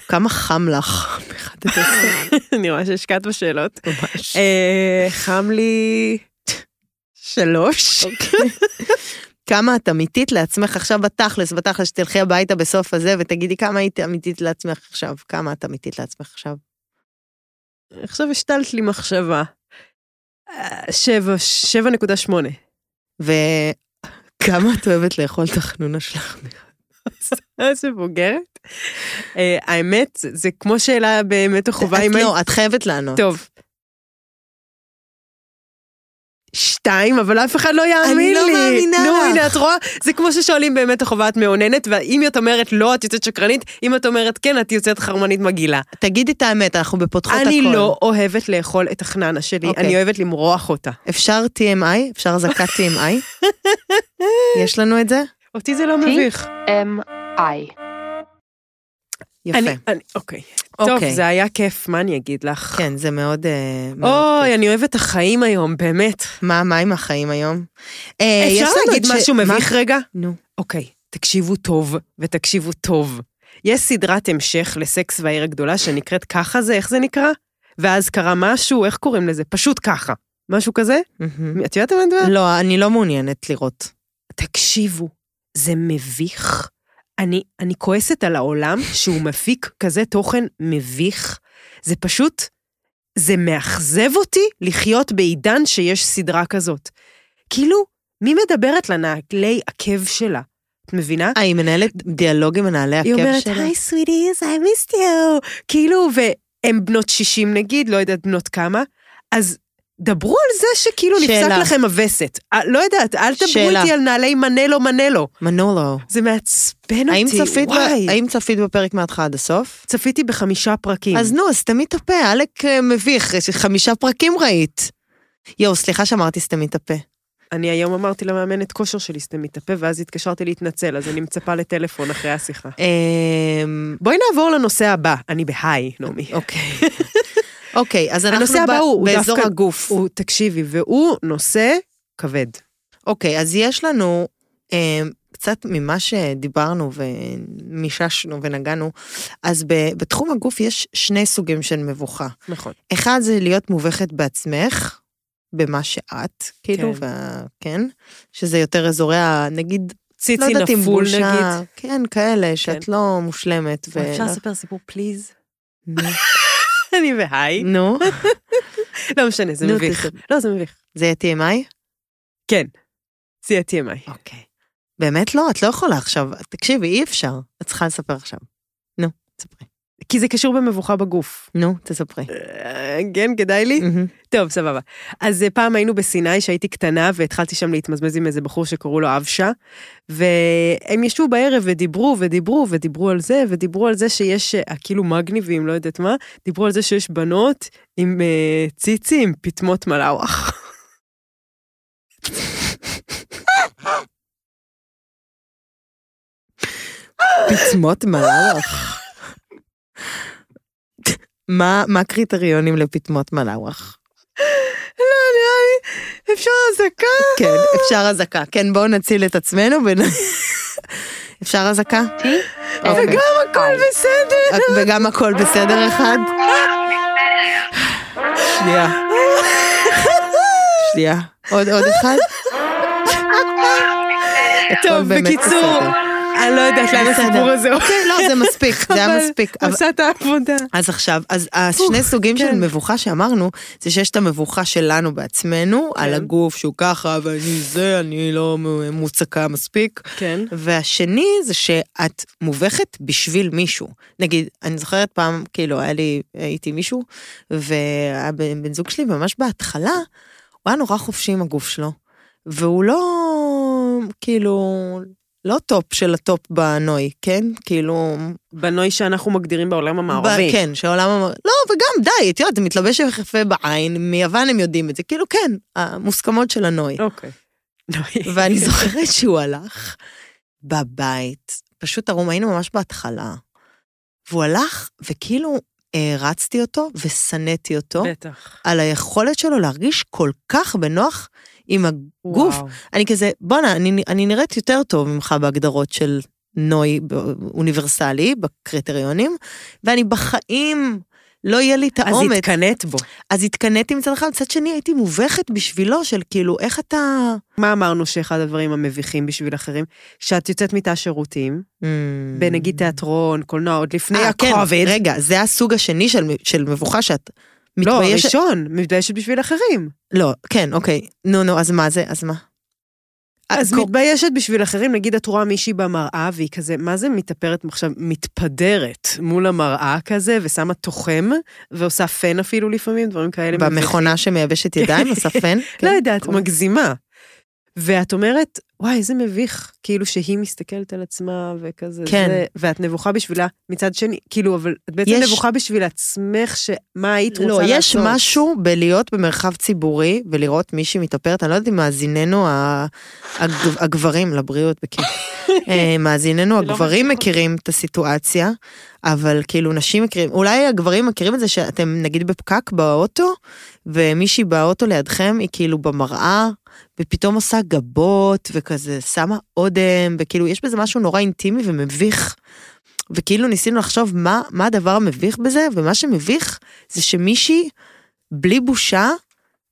Speaker 3: כמה חם לך מ-1
Speaker 2: אני רואה שהשקעת בשאלות. אה, חם לי שלוש.
Speaker 3: כמה את אמיתית לעצמך עכשיו בתכלס, בתכלס, שתלכי הביתה בסוף הזה ותגידי כמה היית אמיתית לעצמך עכשיו, כמה את אמיתית לעצמך עכשיו.
Speaker 2: עכשיו השתלת לי מחשבה. אה, שבע, שבע נקודה שמונה.
Speaker 3: וכמה את אוהבת לאכול את החנונה שלך.
Speaker 2: איזה בוגרת. אה, האמת, זה- זה כמו שאלה באמת החובה
Speaker 3: את
Speaker 2: אם היית...
Speaker 3: לא, את חייבת לענות.
Speaker 2: טוב. שתיים, אבל אף אחד לא יאמין לי.
Speaker 3: אני לא מאמינה
Speaker 2: נו,
Speaker 3: לך.
Speaker 2: הנה, את רואה? זה כמו ששואלים באמת החובה את מאוננת, ואם את אומרת לא, את יוצאת שקרנית, אם את אומרת כן, את יוצאת חרמנית מגעילה.
Speaker 3: תגידי את האמת, אנחנו בפותחות הכל.
Speaker 2: אני לא אוהבת לאכול את החננה שלי,
Speaker 3: אוקיי.
Speaker 2: אני אוהבת למרוח אותה.
Speaker 3: אפשר TMI? אפשר אזעקת TMI? יש לנו את זה?
Speaker 2: אותי
Speaker 3: אה?
Speaker 2: זה לא
Speaker 6: אותי?
Speaker 2: מביך.
Speaker 6: M.I.
Speaker 2: אני-
Speaker 3: יפה.
Speaker 2: אני- אוקיי. טוב,
Speaker 3: אוקיי.
Speaker 2: זה היה כיף, מה אני אגיד לך?
Speaker 3: כן, זה מאוד... אה, מאוד
Speaker 2: אוי,
Speaker 3: כיף.
Speaker 2: אני אוהבת את החיים היום, באמת.
Speaker 3: מה, מה עם החיים היום? אה, יש
Speaker 2: אפשר
Speaker 3: לנו את
Speaker 2: להגיד
Speaker 3: ש-
Speaker 2: משהו
Speaker 3: מה?
Speaker 2: מביך רגע?
Speaker 3: נו.
Speaker 2: אוקיי, תקשיבו טוב, ותקשיבו טוב. יש סדרת המשך לסקס והעיר הגדולה שנקראת ככה זה, איך זה נקרא? ואז קרה משהו, איך קוראים לזה? פשוט ככה. משהו כזה?
Speaker 3: מהמם.
Speaker 2: את יודעת על מה אני מדברת?
Speaker 3: לא, אני לא מעוניינת לראות.
Speaker 2: תקשיבו, זה מביך. אני, אני כועסת על העולם שהוא מפיק כזה תוכן מביך. זה פשוט, זה מאכזב אותי לחיות בעידן שיש סדרה כזאת. כאילו, מי מדברת לנעלי עקב שלה? את מבינה?
Speaker 3: אה, היא מנהלת דיאלוג עם מנהלי
Speaker 2: היא
Speaker 3: הכיף
Speaker 2: אומרת,
Speaker 3: שלה?
Speaker 2: היי סווידיז, I missed you. כאילו, והן בנות 60 נגיד, לא יודעת בנות כמה, אז דברו על זה שכאילו
Speaker 3: שאלה.
Speaker 2: נפסק לכם הווסת. אה, לא יודעת, אל דברו
Speaker 3: שאלה.
Speaker 2: איתי על נעלי מנלו מנלו.
Speaker 3: מנולו.
Speaker 2: זה מעצבן
Speaker 3: האם
Speaker 2: אותי,
Speaker 3: צפית, ב-
Speaker 2: וואי.
Speaker 3: האם צפית בפרק מההתחלה עד הסוף?
Speaker 2: צפיתי בחמישה פרקים.
Speaker 3: אז נו, סתמי את הפה, עלק אה, מביך, יש חמישה פרקים ראית. יואו, סליחה שאמרתי סתמי את הפה.
Speaker 2: אני היום אמרתי למאמנת כושר שלי, סתמי את הפה, ואז התקשרתי להתנצל, אז אני מצפה לטלפון אחרי השיחה.
Speaker 3: אמ,
Speaker 2: בואי נעבור לנושא הבא, אני בהיי, נעמי.
Speaker 3: אוקיי. אוקיי, אז אנחנו
Speaker 2: הנושא הבא
Speaker 3: ב-
Speaker 2: הוא הוא
Speaker 3: באזור
Speaker 2: דווקא-
Speaker 3: הגוף.
Speaker 2: הוא, תקשיבי, והוא נושא כבד.
Speaker 3: אוקיי, אז יש לנו אה, קצת ממה שדיברנו ומיששנו ונגענו, אז ב- בתחום הגוף יש שני סוגים של מבוכה.
Speaker 2: נכון.
Speaker 3: אחד זה להיות מובכת בעצמך, במה שאת, כאילו,
Speaker 2: כן.
Speaker 3: כן, כן שזה יותר אזורי ה... נגיד, לא
Speaker 2: ציצי
Speaker 3: יודעת אם
Speaker 2: נפול
Speaker 3: בושה,
Speaker 2: נגיד.
Speaker 3: כן, כאלה, שאת לא מושלמת. ו... לא.
Speaker 5: אפשר לספר סיפור פליז?
Speaker 3: נו.
Speaker 2: אני בהיי.
Speaker 3: נו,
Speaker 2: לא משנה, זה
Speaker 3: נו,
Speaker 2: מביך.
Speaker 3: תספר.
Speaker 2: לא, זה מביך.
Speaker 3: זה יהיה TMI?
Speaker 2: כן. זה יהיה TMI.
Speaker 3: אוקיי. באמת לא, את לא יכולה עכשיו. תקשיבי, אי אפשר. את צריכה לספר עכשיו. נו, תספרי.
Speaker 2: כי זה קשור במבוכה בגוף.
Speaker 3: נו, תספרי.
Speaker 2: אה, כן, כדאי לי?
Speaker 3: מהמם.
Speaker 2: טוב, סבבה. אז אה, פעם היינו בסיני שהייתי קטנה והתחלתי שם להתמזמז עם איזה בחור שקראו לו אבשה, והם ישבו בערב ודיברו ודיברו ודיברו על זה, ודיברו על זה שיש, אה, כאילו מגניבים, לא יודעת מה, דיברו על זה שיש בנות עם אה, ציצי עם פטמות מלאווח.
Speaker 3: פטמות מלאווח. מה מה הקריטריונים לפטמות מלאווח?
Speaker 2: לא, נראה לי, אפשר אזעקה?
Speaker 3: כן, אפשר אזעקה. כן, בואו נציל את עצמנו. ונ- אפשר אזעקה? אוקיי. אה,
Speaker 2: וגם הכל בסדר.
Speaker 3: וגם הכל בסדר אחד? שנייה. שנייה. עוד עוד אחד? הכל
Speaker 2: טוב,
Speaker 3: באמת
Speaker 2: בקיצור,
Speaker 3: בסדר.
Speaker 2: אני לא יודעת לאן
Speaker 3: בסדר.
Speaker 2: הסיפור הזה הולך.
Speaker 3: לא, זה מספיק, זה היה
Speaker 2: אבל
Speaker 3: מספיק. אבל-
Speaker 2: עשה את העבודה.
Speaker 3: אז עכשיו, אז השני סוגים של
Speaker 2: כן.
Speaker 3: מבוכה שאמרנו, זה שיש את המבוכה שלנו בעצמנו,
Speaker 2: כן.
Speaker 3: על הגוף שהוא ככה, ואני זה, אני לא מ- מוצקה מספיק.
Speaker 2: כן.
Speaker 3: והשני זה שאת מובכת בשביל מישהו. נגיד, אני זוכרת פעם, כאילו, היה לי, הייתי מישהו, והבן בן זוג שלי ממש בהתחלה, הוא היה נורא חופשי עם הגוף שלו, והוא לא, כאילו, לא טופ של הטופ בנוי, כן? כאילו,
Speaker 2: בנוי שאנחנו מגדירים בעולם המערבי.
Speaker 3: ב- כן, שהעולם אמר, לא, וגם די, את יודעת, זה מתלבש יפה בעין, מיוון הם יודעים את זה, כאילו כן, המוסכמות של הנוי.
Speaker 2: אוקיי. נוי.
Speaker 3: ואני זוכרת שהוא הלך בבית, פשוט ערום, היינו ממש בהתחלה, והוא הלך, וכאילו הערצתי אותו ושנאתי אותו
Speaker 2: בטח.
Speaker 3: על היכולת שלו להרגיש כל כך בנוח עם הגוף.
Speaker 2: וואו.
Speaker 3: אני כזה, בואנה, אני, אני נראית יותר טוב ממך בהגדרות של נוי ב- אוניברסלי, בקריטריונים, ואני בחיים לא יהיה לי את
Speaker 2: אז
Speaker 3: האומץ.
Speaker 2: התקנאת בו.
Speaker 3: אז התקנאתי מצד אחד, מצד שני הייתי מובכת בשבילו של כאילו, איך אתה...
Speaker 2: מה אמרנו שאחד הדברים המביכים בשביל אחרים? כשאת יוצאת מתא שירותים, בנגיד תיאטרון, קולנוע, עוד לפני
Speaker 3: Mm. אה, כן,
Speaker 2: הכובד.
Speaker 3: רגע, זה הסוג השני של, של מבוכה שאת
Speaker 2: לא,
Speaker 3: מתביישת...
Speaker 2: ראשון, מתביישת בשביל אחרים.
Speaker 3: לא, כן, אוקיי. נו, נו, אז מה זה? אז מה?
Speaker 2: אז
Speaker 3: קור-
Speaker 2: מתביישת בשביל אחרים, נגיד את רואה מישהי במראה והיא כזה, מה זה מתאפרת עכשיו? מתפדרת מול המראה כזה, ושמה תוחם, ועושה פן אפילו לפעמים, דברים כאלה. מביכים.
Speaker 3: במכונה שמייבשת ידיים, הספן?
Speaker 2: לא יודעת, מגזימה. ואת אומרת, וואי, איזה מביך, כאילו שהיא מסתכלת על עצמה וכזה
Speaker 3: כן.
Speaker 2: זה, ואת נבוכה בשבילה מצד שני, כאילו, אבל את בעצם
Speaker 3: יש-
Speaker 2: נבוכה בשביל עצמך, שמה היית רוצה
Speaker 3: לא,
Speaker 2: לעשות.
Speaker 3: יש משהו בלהיות במרחב ציבורי ולראות מישהי מתאפרת, אני לא יודעת אם מאזיננו ה- הג- הגברים, לבריאות בכיף, אה, מאזיננו
Speaker 2: לא
Speaker 3: הגברים מכירים את הסיטואציה, אבל כאילו נשים מכירים, אולי הגברים מכירים את זה שאתם נגיד בפקק באוטו, ומישהי באוטו לידכם היא כאילו במראה, ופתאום עושה גבות, וכזה שמה אודם, וכאילו יש בזה משהו נורא אינטימי ומביך. וכאילו ניסינו לחשוב מה, מה הדבר המביך בזה, ומה שמביך זה שמישהי, בלי בושה,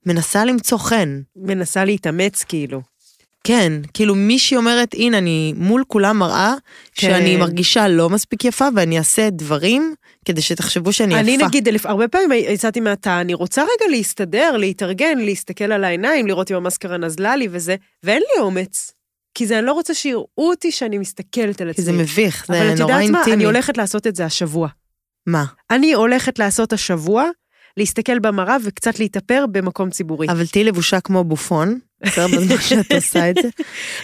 Speaker 3: מנסה למצוא חן.
Speaker 2: מנסה להתאמץ, כאילו.
Speaker 3: כן, כאילו מישהי אומרת, הנה, אני מול כולם מראה
Speaker 2: כן.
Speaker 3: שאני מרגישה לא מספיק יפה, ואני אעשה דברים כדי שתחשבו שאני יפה.
Speaker 2: אני נגיד, אלף, הרבה פעמים יצאתי מהתא, אני רוצה רגע להסתדר, להתארגן, להסתכל על העיניים, לראות אם המסקרה נזלה לי וזה, ואין לי אומץ. כי זה, אני לא רוצה שיראו אותי שאני מסתכלת על
Speaker 3: כי
Speaker 2: עצמי.
Speaker 3: זה מביך, זה
Speaker 2: אבל את
Speaker 3: נורא
Speaker 2: יודעת מה,
Speaker 3: אינטימי.
Speaker 2: אני הולכת לעשות את זה השבוע.
Speaker 3: מה?
Speaker 2: אני הולכת לעשות השבוע, להסתכל במראה וקצת להתאפר במקום ציבורי.
Speaker 3: אבל תהיי לבושה כמו בופון, בסדר, בזמן שאת עושה את זה.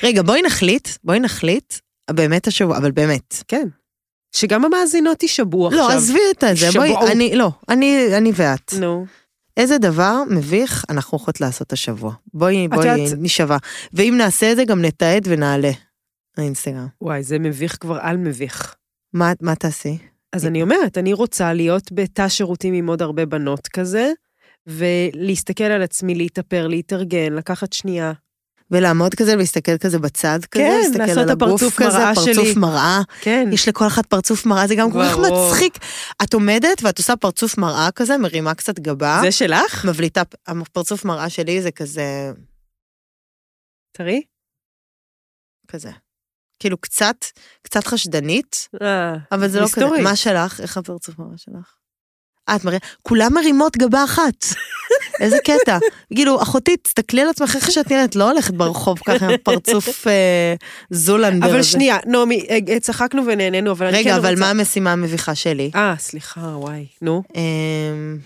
Speaker 3: רגע, בואי נחליט, בואי נחליט, באמת השבוע, אבל באמת.
Speaker 2: כן. שגם המאזינות יישבעו עכשיו.
Speaker 3: לא, עזבי את זה,
Speaker 2: שבעו.
Speaker 3: בואי, אני, לא, אני, אני ואת.
Speaker 2: נו.
Speaker 3: איזה דבר מביך אנחנו הולכות לעשות השבוע. בואי, בואי,
Speaker 2: יודעת-
Speaker 3: נשבע. ואם נעשה את זה, גם נתעד ונעלה. האינסטגרם.
Speaker 2: וואי, זה מביך כבר על מביך.
Speaker 3: מה, מה תעשי?
Speaker 2: אז אני אומרת, אני רוצה להיות בתא שירותים עם עוד הרבה בנות כזה, ולהסתכל על עצמי, להתאפר, להתארגן, לקחת שנייה.
Speaker 3: ולעמוד כזה ולהסתכל כזה בצד כזה,
Speaker 2: כן,
Speaker 3: להסתכל
Speaker 2: לעשות
Speaker 3: על
Speaker 2: את
Speaker 3: הגוף
Speaker 2: הפרצוף
Speaker 3: כזה,
Speaker 2: מראה
Speaker 3: פרצוף
Speaker 2: שלי.
Speaker 3: מראה.
Speaker 2: כן.
Speaker 3: יש לכל אחת פרצוף מראה, זה גם כל כך
Speaker 2: ברור.
Speaker 3: מצחיק. את עומדת ואת עושה פרצוף מראה כזה, מרימה קצת גבה,
Speaker 2: זה שלך?
Speaker 3: מבליטה, הפרצוף מראה שלי זה כזה,
Speaker 2: תראי.
Speaker 3: כזה. כאילו קצת, קצת חשדנית,
Speaker 2: אה,
Speaker 3: אבל זה לא כזה.
Speaker 2: מסתורי.
Speaker 3: מה שלך? איך הפרצוף מראה שלך? את מראה, כולם מרימות גבה אחת. איזה קטע. כאילו, אחותי, תסתכלי על עצמך איך שאת נראית, לא הולכת ברחוב ככה עם פרצוף אה, זולנדר.
Speaker 2: אבל
Speaker 3: הזה.
Speaker 2: שנייה, נעמי, אה, צחקנו ונהנינו, אבל אני כן
Speaker 3: רגע,
Speaker 2: רוצה...
Speaker 3: אבל מה המשימה המביכה שלי?
Speaker 2: אה, סליחה, וואי, נו.
Speaker 3: אמ,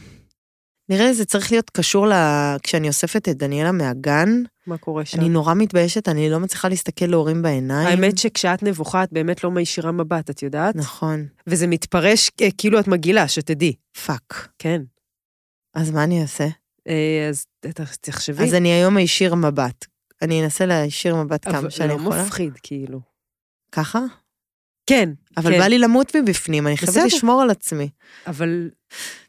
Speaker 3: נראה לי זה צריך להיות קשור ל... כשאני אוספת את דניאלה מהגן,
Speaker 2: מה קורה שם?
Speaker 3: אני נורא מתביישת, אני לא מצליחה להסתכל להורים בעיניים.
Speaker 2: האמת שכשאת נבוכה, את באמת לא מישירה מבט, את יודעת?
Speaker 3: נכון,
Speaker 2: וזה מתפרש אה, כאילו את מגעילה, שתדעי.
Speaker 3: פאק.
Speaker 2: כן.
Speaker 3: אז מה אני אעשה?
Speaker 2: אה, אז ת- תחשבי.
Speaker 3: אז אני היום אשיר מבט. אני אנסה להישיר מבט
Speaker 2: אבל
Speaker 3: כמה שאני
Speaker 2: לא
Speaker 3: יכולה.
Speaker 2: מפחיד, כאילו.
Speaker 3: ככה?
Speaker 2: כן,
Speaker 3: אבל
Speaker 2: כן.
Speaker 3: בא לי למות מבפנים, אני חייבת
Speaker 2: בסדר.
Speaker 3: לשמור על עצמי.
Speaker 2: אבל...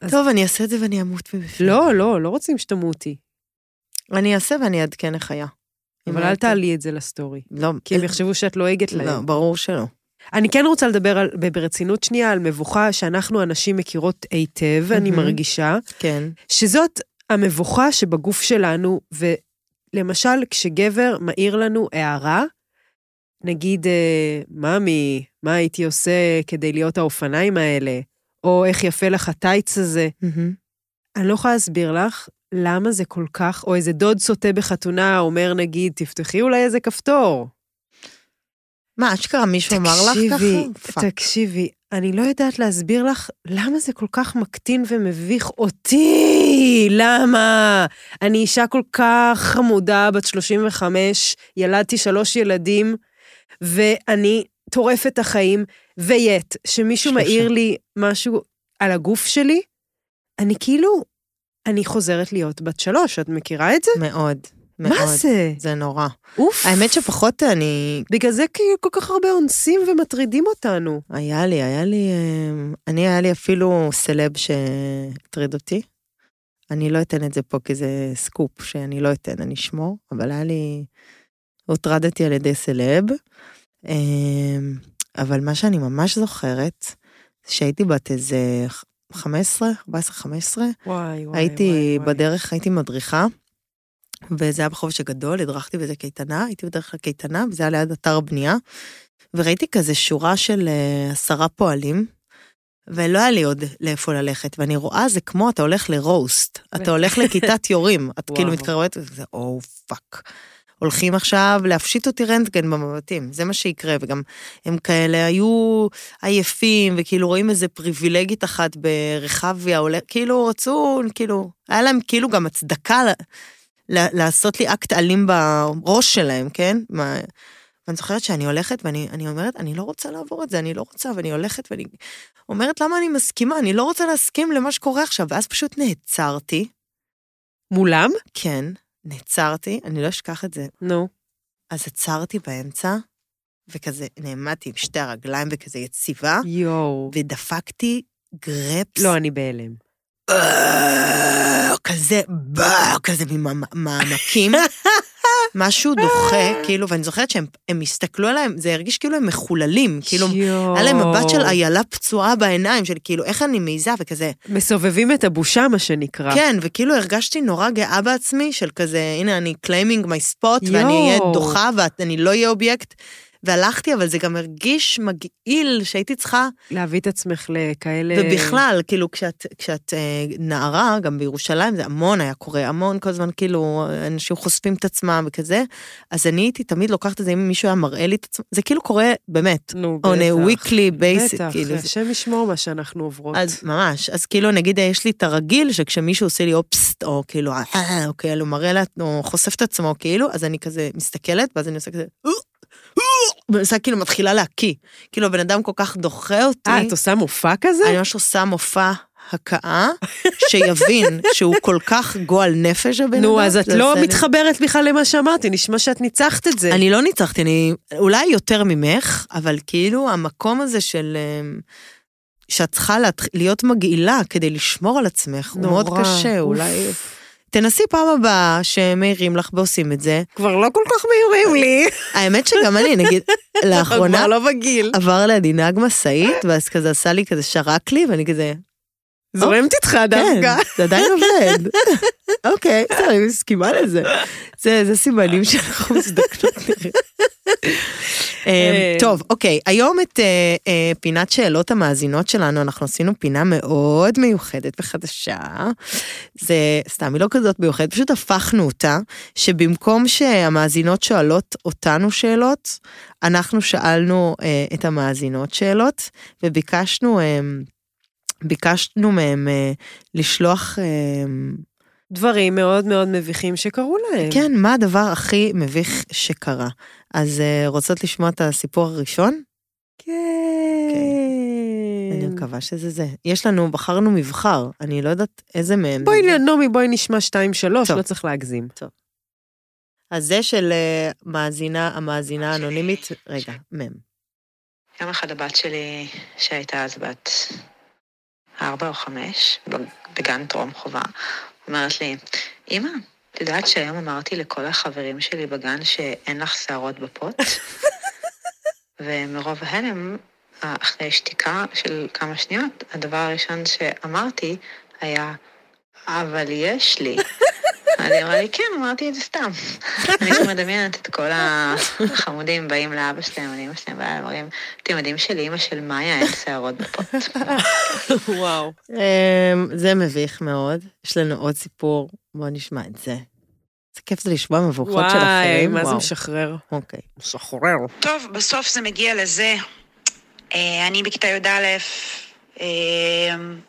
Speaker 2: אז-
Speaker 3: טוב, אני אעשה את זה ואני אמות מבפנים.
Speaker 2: לא, לא, לא רוצים שתמותי.
Speaker 3: אני אעשה ואני אעדכן איך היה. אם לא
Speaker 2: אבל אל
Speaker 3: הייתי-
Speaker 2: תעלי את זה לסטורי.
Speaker 3: לא,
Speaker 2: כי הם יחשבו שאת לועגת להם.
Speaker 3: לא, ברור שלא.
Speaker 2: אני כן רוצה לדבר על, ב- ברצינות שנייה על מבוכה שאנחנו הנשים מכירות היטב, אני
Speaker 3: מהמם.
Speaker 2: מרגישה,
Speaker 3: כן.
Speaker 2: שזאת המבוכה שבגוף שלנו, ולמשל, כשגבר מעיר לנו הערה, נגיד, אה, ממי, מה הייתי עושה כדי להיות האופניים האלה? או איך יפה לך הטייץ הזה.
Speaker 3: מהמם.
Speaker 2: אני לא יכולה להסביר לך למה זה כל כך, או איזה דוד סוטה בחתונה אומר, נגיד, תפתחי אולי איזה כפתור.
Speaker 3: מה, אשכרה מישהו אמר לך ככה? פאק.
Speaker 2: תקשיבי, אני לא יודעת להסביר לך למה זה כל כך מקטין ומביך אותי. למה? אני אישה כל כך חמודה, בת 35, ילדתי שלוש ילדים, ואני טורפת את החיים, ויט, שמישהו
Speaker 3: שלושה.
Speaker 2: מעיר לי משהו על הגוף שלי, אני כאילו, אני חוזרת להיות בת שלוש, את מכירה את זה?
Speaker 3: מאוד. מאוד.
Speaker 2: מה זה?
Speaker 3: זה נורא.
Speaker 2: אוף.
Speaker 3: האמת שפחות אני...
Speaker 2: בגלל זה כאילו כל כך הרבה אונסים ומטרידים אותנו.
Speaker 3: היה לי, היה לי... אמ, אני, היה לי אפילו סלב שהטריד אותי. אני לא אתן את זה פה כי זה סקופ שאני לא אתן, אני אשמור, אבל היה לי... הוטרדתי על ידי סלב. אמ, אבל מה שאני ממש זוכרת, זה שהייתי בת איזה 15, 14, 15,
Speaker 2: וואי, וואי,
Speaker 3: הייתי בדרך, הייתי מדריכה, וזה היה בחופש הגדול, הדרכתי באיזה קייטנה, הייתי בדרך לקייטנה, וזה היה ליד אתר בנייה, וראיתי כזה שורה של אה, עשרה פועלים, ולא היה לי עוד לאיפה ללכת, ואני רואה, זה כמו אתה הולך לרוסט, אתה הולך לכיתת יורים, את כאילו
Speaker 2: וואו.
Speaker 3: מתקרבת, וזה או פאק. הולכים עכשיו להפשיט אותי רנטגן במבטים, זה מה שיקרה, וגם הם כאלה היו עייפים, וכאילו רואים איזה פריבילגית אחת ברחביה, עולה, כאילו רצו, כאילו, היה להם כאילו גם הצדקה ל- ל- לעשות לי אקט אלים בראש שלהם, כן? מה, ואני זוכרת שאני הולכת ואני אני אומרת, אני לא רוצה לעבור את זה, אני לא רוצה, ואני הולכת ואני אומרת, למה אני מסכימה? אני לא רוצה להסכים למה שקורה עכשיו, ואז פשוט נעצרתי,
Speaker 2: מולם?
Speaker 3: כן, נעצרתי, אני לא אשכח את זה,
Speaker 2: נו.
Speaker 3: אז עצרתי באמצע, וכזה נעמדתי עם שתי הרגליים וכזה יציבה,
Speaker 2: יואו.
Speaker 3: ודפקתי גרפס.
Speaker 2: לא, אני בהלם.
Speaker 3: "באו", כזה, "באו", כזה ממעמקים. משהו דוחה, כאילו, ואני זוכרת שהם הם הסתכלו עליהם, זה הרגיש כאילו הם מחוללים, כאילו,
Speaker 2: יואו.
Speaker 3: היה להם מבט של איילה פצועה בעיניים, של כאילו, איך אני מעיזה, וכזה,
Speaker 2: מסובבים את הבושה, מה שנקרא.
Speaker 3: כן, וכאילו הרגשתי נורא גאה בעצמי, של כזה, הנה, אני claiming my spot, ואני אהיה
Speaker 2: יואו.
Speaker 3: דוחה, ואני לא אהיה אובייקט. והלכתי, אבל זה גם הרגיש מגעיל שהייתי צריכה
Speaker 2: להביא את עצמך לכאלה...
Speaker 3: ובכלל, כאילו, כשאת, כשאת אה, נערה, גם בירושלים, זה המון היה קורה, המון, כל הזמן, כאילו, אנשים חושפים את עצמם וכזה, אז אני הייתי תמיד לוקחת את זה, אם מישהו היה מראה לי את עצמו, זה כאילו קורה, באמת,
Speaker 2: נו,
Speaker 3: on
Speaker 2: בטח.
Speaker 3: a weekly basis,
Speaker 2: בטח,
Speaker 3: כאילו. זה-
Speaker 2: השם ישמור מה שאנחנו עוברות.
Speaker 3: אז ממש, אז כאילו, נגיד, יש לי את הרגיל, שכשמישהו עושה לי אופסט, או כאילו, אה, אה, או כאילו, מראה לה, או חושף את עצמו, כאילו, אז אני כזה מסתכלת, ואז אני עושה כזה, "אה, אה", ועושה כאילו, מתחילה להקיא. כאילו, הבן אדם כל כך דוחה אותי.
Speaker 2: אה, את עושה מופע כזה?
Speaker 3: אני ממש עושה מופע הקאה, שיבין שהוא כל כך גועל נפש הבן אדם.
Speaker 2: נו, אז את
Speaker 3: זה
Speaker 2: לא
Speaker 3: עושה לי-
Speaker 2: מתחברת בכלל למה שאמרתי, נשמע שאת ניצחת את זה.
Speaker 3: אני לא ניצחתי, אני אולי יותר ממך, אבל כאילו המקום הזה של... אמ, שאת צריכה להתח- להיות מגעילה כדי לשמור על עצמך, הוא מאוד
Speaker 2: נורא,
Speaker 3: קשה,
Speaker 2: אוף.
Speaker 3: אולי... תנסי פעם הבאה שמעירים לך ועושים את זה.
Speaker 2: כבר לא כל כך
Speaker 3: אה,
Speaker 2: מהירים לי.
Speaker 3: האמת שגם אני, נגיד, לאחרונה
Speaker 2: כבר לא בגיל.
Speaker 3: עבר לידי נהג משאית, ואז כזה עשה לי כזה, שרק לי, ואני כזה,
Speaker 2: זורמת איתך דווקא.
Speaker 3: אוקיי. כן, זה עדיין עובד. אוקיי, בסדר, אני מסכימה לזה. זה זה סימנים שאנחנו מזדקנות נראה. אמ, טוב, אוקיי, היום את אה, אה, פינת שאלות המאזינות שלנו, אנחנו עשינו פינה מאוד מיוחדת וחדשה. זה, סתם, היא לא כזאת מיוחדת, פשוט הפכנו אותה, שבמקום שהמאזינות שואלות אותנו שאלות, אנחנו שאלנו אה, את המאזינות שאלות, וביקשנו אמ, ביקשנו מהם אה, לשלוח, אה,
Speaker 2: דברים מאוד מאוד מביכים שקרו להם.
Speaker 3: כן, מה הדבר הכי מביך שקרה. אז אה, רוצות לשמוע את הסיפור הראשון? כן. אני
Speaker 2: כן.
Speaker 3: מקווה שזה זה. יש לנו, בחרנו מבחר, אני לא יודעת איזה מהם.
Speaker 2: בואי,
Speaker 3: זה.
Speaker 2: נעמי, בואי נשמע שתיים, שלוש,
Speaker 3: טוב.
Speaker 2: לא צריך להגזים.
Speaker 3: אז זה של אה, מאזינה, המאזינה האנונימית, רגע, מם.
Speaker 6: יום אחד הבת שלי, שהייתה אז בת ארבע או חמש, בג- בגן טרום חובה, אומרת לי, אמא, את יודעת שהיום אמרתי לכל החברים שלי בגן שאין לך שערות בפוט? ומרוב ההלם, אחרי שתיקה של כמה שניות, הדבר הראשון שאמרתי היה, אבל יש לי. אני אמרה לי, כן, אמרתי את זה סתם. אני כבר מדמיינת את כל החמודים באים לאבא שלהם, לאמא שלהם, ואלה אומרים, אתם יודעים שלאימא של מאיה אין שערות בפוט.
Speaker 2: וואו.
Speaker 3: אמ, זה מביך מאוד, יש לנו עוד סיפור, בואו נשמע את זה. איזה כיף זה לשמוע מבוכות של
Speaker 2: וואי,
Speaker 3: אחרים,
Speaker 2: מה זה
Speaker 3: וואו.
Speaker 2: משחרר?
Speaker 3: אוקיי.
Speaker 2: משחרר.
Speaker 7: טוב, בסוף זה מגיע לזה. אה, אני בכיתה י"א, אה,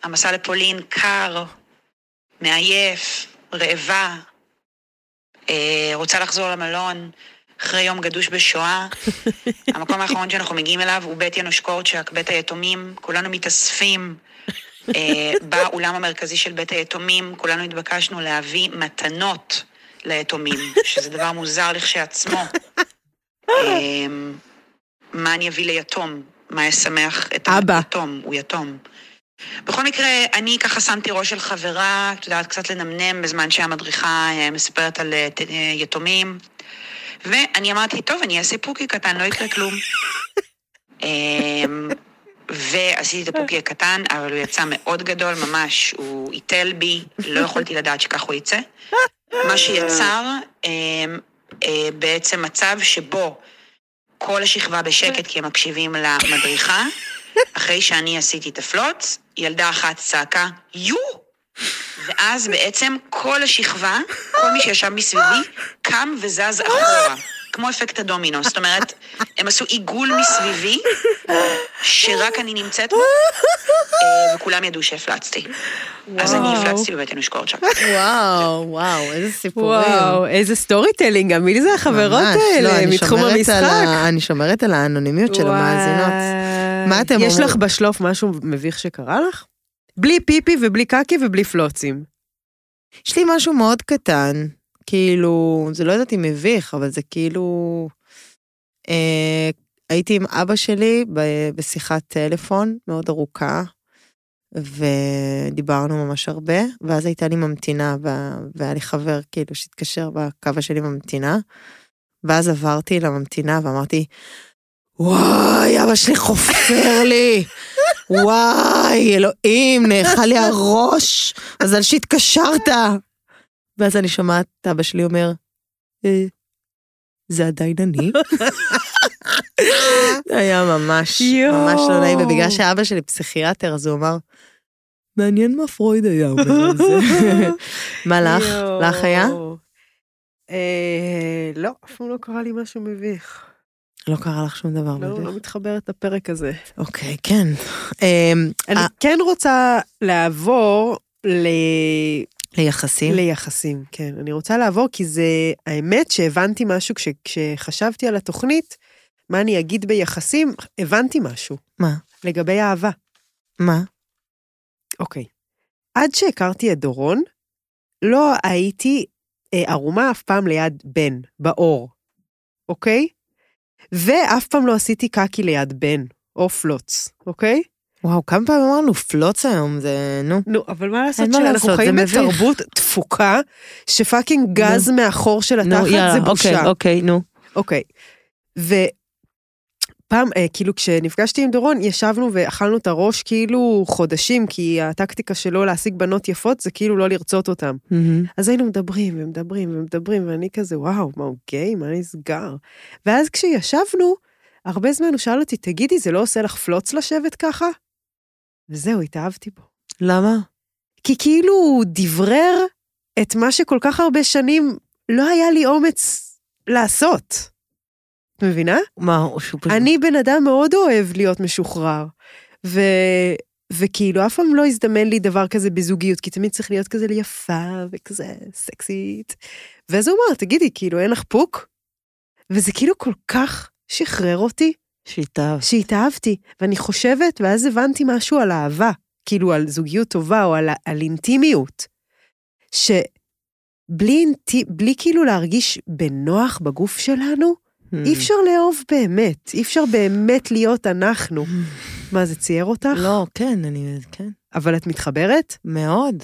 Speaker 7: המסע לפולין קר, מעייף, רעבה, אה, רוצה לחזור למלון אחרי יום גדוש בשואה. המקום האחרון שאנחנו מגיעים אליו הוא בית ינוש קורצ'אק, בית היתומים, כולנו מתאספים. אה, באולם המרכזי של בית היתומים, כולנו התבקשנו להביא מתנות ליתומים, שזה דבר מוזר לכשעצמו. אמ, מה אני אביא ליתום? מה ישמח את
Speaker 2: אבא.
Speaker 7: היתום? הוא יתום. בכל מקרה, אני ככה שמתי ראש של חברה, את יודעת, קצת לנמנם בזמן שהמדריכה אה, מספרת על אה, ת- אה, יתומים. ואני אמרתי, טוב, אני אעשה פוקי קטן, לא יקרה כלום. אמ, ועשיתי את הפוקי הקטן, אבל הוא יצא מאוד גדול, ממש, הוא איטל בי, לא יכולתי לדעת שכך הוא יצא. מה שיצר אה, אה, בעצם מצב שבו כל השכבה בשקט כי הם מקשיבים למדריכה, אחרי שאני עשיתי את הפלוץ, ילדה אחת צעקה, יו! ואז בעצם כל השכבה, כל מי שישב מסביבי, קם וזז אחורה, כמו אפקט הדומינו. זאת אומרת, הם עשו עיגול מסביבי, שרק אני נמצאת בו, אה, וכולם ידעו שהפלצתי. אז אני הפלצתי בבית אנושקורצ'ק.
Speaker 3: וואו, וואו, איזה סיפורים.
Speaker 2: וואו, איזה סטורי טלינג, מי זה החברות
Speaker 3: ממש, לא,
Speaker 2: האלה
Speaker 3: אני
Speaker 2: אה, מתחום
Speaker 3: שומרת על
Speaker 2: המשחק?
Speaker 3: ה- אני שומרת על האנונימיות של
Speaker 2: וואי.
Speaker 3: המאזינות. מה אתם
Speaker 2: יש
Speaker 3: אומרים?
Speaker 2: לך בשלוף משהו מביך שקרה לך? בלי פיפי ובלי קקי ובלי פלוצים.
Speaker 3: יש לי משהו מאוד קטן, כאילו, זה לא יודעת אם מביך, אבל זה כאילו... אה, הייתי עם אבא שלי ב- בשיחת טלפון מאוד ארוכה, ודיברנו ממש הרבה, ואז הייתה לי ממתינה, ו- והיה לי חבר כאילו שהתקשר בקו שלי ממתינה, ואז עברתי לממתינה ואמרתי, וואי, אבא שלי חופר לי. וואי, אלוהים, נאכל לי הראש, מזל שהתקשרת. ואז אני שומעת את אבא שלי אומר, "אה, זה עדיין אני. זה היה ממש, ממש לא נעים, ובגלל שאבא שלי פסיכיאטר, אז הוא אמר, מעניין מה פרויד היה אומר על זה. מה לך? לך היה?
Speaker 2: אה, לא, אף פעם לא קרה לי משהו מביך.
Speaker 3: לא קרה לך שום
Speaker 2: לא,
Speaker 3: דבר. בדיוק.
Speaker 2: לא מתחברת לפרק הזה.
Speaker 3: אוקיי, כן. אמ,
Speaker 2: אני
Speaker 3: אה,
Speaker 2: כן רוצה לעבור ל-
Speaker 3: ליחסים?
Speaker 2: ליחסים, כן. אני רוצה לעבור כי זה, האמת שהבנתי משהו כש- כשחשבתי על התוכנית, מה אני אגיד ביחסים, הבנתי משהו.
Speaker 3: מה?
Speaker 2: לגבי אהבה.
Speaker 3: מה?
Speaker 2: אוקיי. עד שהכרתי את דורון, לא הייתי אה, ערומה אף פעם ליד בן, באור, אוקיי? ואף פעם לא עשיתי קקי ליד בן, או פלוץ, אוקיי?
Speaker 3: וואו, כמה פעמים אמרנו פלוץ היום, זה נו.
Speaker 2: נו, אבל מה לעשות
Speaker 3: מה
Speaker 2: שאנחנו
Speaker 3: לעשות,
Speaker 2: חיים
Speaker 3: זה מביך.
Speaker 2: בתרבות תפוקה, שפאקינג גז מהחור של
Speaker 3: נו,
Speaker 2: התחת
Speaker 3: יאללה,
Speaker 2: זה בושה.
Speaker 3: אוקיי, אוקיי, נו.
Speaker 2: אוקיי. ופעם, אה, כאילו, כשנפגשתי עם דורון, ישבנו ואכלנו את הראש כאילו חודשים, כי הטקטיקה שלו להשיג בנות יפות זה כאילו לא לרצות אותן. אז היינו מדברים ומדברים ומדברים, ואני כזה, וואו, מה הוא גיי? מה נסגר? ואז כשישבנו, הרבה זמן הוא שאל אותי, תגידי, זה לא עושה לך פלוץ לשבת ככה? וזהו, התאהבתי בו.
Speaker 3: למה?
Speaker 2: כי כאילו הוא דברר את מה שכל כך הרבה שנים לא היה לי אומץ לעשות. את מבינה?
Speaker 3: מה, הוא שהוא פשוט...
Speaker 2: אני בן אדם מאוד אוהב להיות משוחרר. ו... וכאילו, אף פעם לא הזדמן לי דבר כזה בזוגיות, כי תמיד צריך להיות כזה יפה וכזה סקסית. ואז הוא אמר, תגידי, כאילו, אין לך פוק? וזה כאילו כל כך שחרר אותי,
Speaker 3: שיטה.
Speaker 2: שהתאהבתי. ואני חושבת, ואז הבנתי משהו על אהבה, כאילו על זוגיות טובה או על, ה- על אינטימיות. שבלי אינטי... בלי כאילו להרגיש בנוח בגוף שלנו,
Speaker 3: Hmm.
Speaker 2: אי אפשר לאהוב באמת, אי אפשר באמת להיות אנחנו. מה, זה צייר אותך?
Speaker 3: לא, כן, אני... כן.
Speaker 2: אבל את מתחברת?
Speaker 3: מאוד.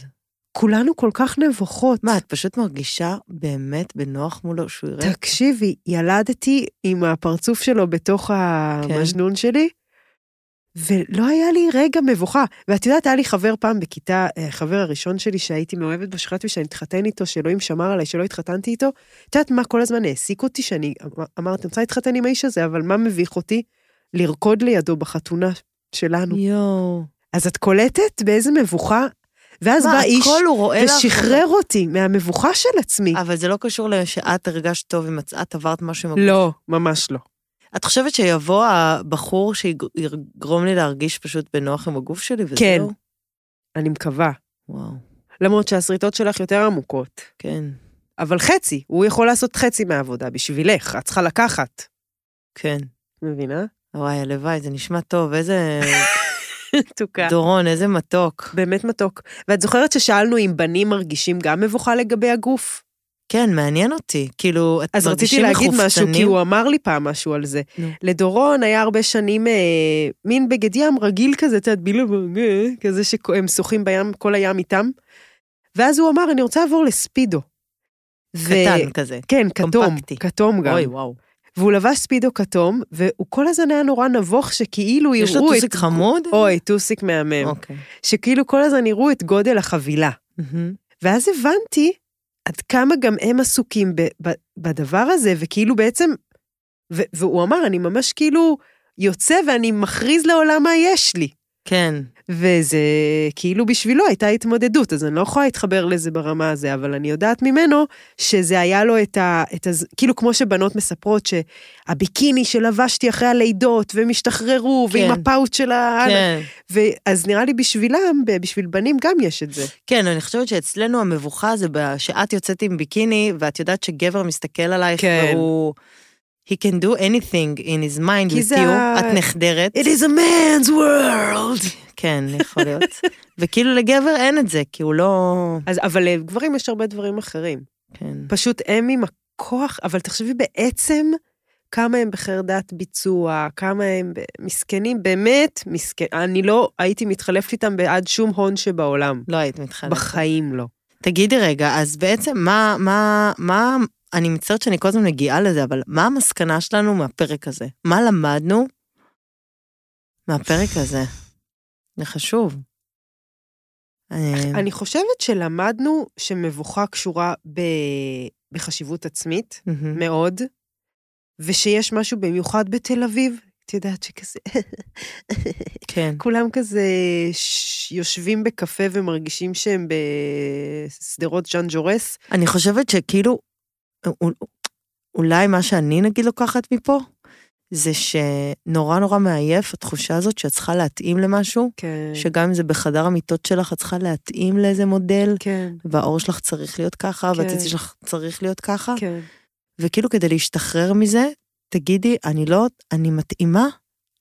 Speaker 2: כולנו כל כך נבוכות.
Speaker 3: מה, את פשוט מרגישה באמת בנוח מולו שהוא יראה?
Speaker 2: תקשיבי, ילדתי עם הפרצוף שלו
Speaker 3: כן.
Speaker 2: בתוך המז'נון שלי, ולא היה לי רגע מבוכה. ואת יודעת, היה לי חבר פעם בכיתה, אה, החבר הראשון שלי שהייתי מאוהבת בו, שחשבתי שאני אתחתן איתו, שאלוהים שמר עליי, שלא התחתנתי איתו. את יודעת מה כל הזמן העסיק אותי, שאני אמ- אמרתי, אני רוצה להתחתן עם האיש הזה, אבל מה מביך אותי? לרקוד לידו בחתונה שלנו.
Speaker 3: יואו.
Speaker 2: אז את קולטת באיזה מבוכה? ואז
Speaker 3: מה,
Speaker 2: בא איש
Speaker 3: הכל הוא רואה לך?
Speaker 2: ושחרר אותי מהמבוכה של עצמי.
Speaker 3: אבל זה לא קשור לשאת הרגשת טוב עם עצמת, עברת משהו עם הגוף.
Speaker 2: לא, ממש לא.
Speaker 3: את חושבת שיבוא הבחור שיגרום לי להרגיש פשוט בנוח עם הגוף שלי וזהו?
Speaker 2: כן. אני מקווה.
Speaker 3: וואו,
Speaker 2: למרות שהשריטות שלך יותר עמוקות.
Speaker 3: כן,
Speaker 2: אבל חצי, הוא יכול לעשות חצי מהעבודה בשבילך, את צריכה לקחת.
Speaker 3: כן.
Speaker 2: מבינה?
Speaker 3: וואי, הלוואי, זה נשמע טוב, איזה...
Speaker 2: תוקה.
Speaker 3: דורון, איזה מתוק.
Speaker 2: באמת מתוק. ואת זוכרת ששאלנו אם בנים מרגישים גם מבוכה לגבי הגוף?
Speaker 3: כן, מעניין אותי. כאילו, את
Speaker 2: אז רציתי
Speaker 3: מרגישים
Speaker 2: להגיד משהו, כי
Speaker 3: מחופצנים?
Speaker 2: הוא אמר לי פעם משהו על זה.
Speaker 3: נו.
Speaker 2: לדורון היה הרבה שנים אה, מין בגד ים רגיל כזה, את יודעת, בילוב, אה, כזה שהם שוחים בים, כל הים איתם. ואז הוא אמר, אני רוצה לעבור לספידו. ו-
Speaker 3: קטן כזה.
Speaker 2: כן, כתום,
Speaker 3: קומפקטי.
Speaker 2: כתום גם.
Speaker 3: אוי, וואו.
Speaker 2: והוא לבש ספידו כתום, והוא כל הזמן היה נורא נבוך שכאילו יראו את...
Speaker 3: יש לו טוסיק חמוד?
Speaker 2: אוי, טוסיק מהמם.
Speaker 3: אוקיי.
Speaker 2: שכאילו כל הזמן יראו את גודל החבילה.
Speaker 3: מהמם.
Speaker 2: ואז הבנתי עד כמה גם הם עסוקים ב- ב- בדבר הזה, וכאילו בעצם, ו- והוא אמר, אני ממש כאילו יוצא ואני מכריז לעולם מה יש לי.
Speaker 3: כן.
Speaker 2: וזה כאילו בשבילו הייתה התמודדות, אז אני לא יכולה להתחבר לזה ברמה הזה, אבל אני יודעת ממנו שזה היה לו את ה... את הז... כאילו כמו שבנות מספרות שהביקיני שלבשתי אחרי הלידות, והם השתחררו, כן. ועם
Speaker 3: כן.
Speaker 2: הפאוט של ה...
Speaker 3: כן.
Speaker 2: ואז נראה לי בשבילם, ב- בשביל בנים גם יש את זה.
Speaker 3: כן, אני חושבת שאצלנו המבוכה זה ב- שאת יוצאת עם ביקיני, ואת יודעת שגבר מסתכל עלייך,
Speaker 2: כן.
Speaker 3: והוא... He can do anything in his mind
Speaker 2: כי
Speaker 3: with
Speaker 2: זה
Speaker 3: you,
Speaker 2: ה-
Speaker 3: את נחדרת.
Speaker 2: It is a man's world.
Speaker 3: כן, יכול להיות. וכאילו לגבר אין את זה, כי הוא לא...
Speaker 2: אז, אבל לגברים יש הרבה דברים אחרים.
Speaker 3: כן.
Speaker 2: פשוט הם עם הכוח, אבל תחשבי בעצם כמה הם בחרדת ביצוע, כמה הם ב- מסכנים, באמת מסכנים. אני לא הייתי מתחלפת איתם בעד שום הון שבעולם.
Speaker 3: לא היית מתחלפת.
Speaker 2: בחיים לא.
Speaker 3: תגידי רגע, אז בעצם מה, מה, מה, אני מצטערת שאני כל הזמן מגיעה לזה, אבל מה המסקנה שלנו מהפרק הזה? מה למדנו מהפרק הזה? זה חשוב. אה,
Speaker 2: אני חושבת שלמדנו שמבוכה קשורה ב... בחשיבות עצמית,
Speaker 3: מהמם.
Speaker 2: מאוד, ושיש משהו במיוחד בתל אביב, את יודעת שכזה,
Speaker 3: כן,
Speaker 2: כולם כזה ש... יושבים בקפה ומרגישים שהם בשדרות ז'אן ג'ורס,
Speaker 3: אני חושבת שכאילו, אול- אולי מה שאני נגיד לוקחת מפה, זה שנורא נורא מעייף התחושה הזאת שאת צריכה להתאים למשהו,
Speaker 2: כן.
Speaker 3: שגם אם זה בחדר המיטות שלך, את צריכה להתאים לאיזה מודל,
Speaker 2: כן,
Speaker 3: והעור שלך צריך להיות ככה,
Speaker 2: כן.
Speaker 3: והציצי שלך צריך להיות ככה,
Speaker 2: כן.
Speaker 3: וכאילו כדי להשתחרר מזה, תגידי, אני לא, אני מתאימה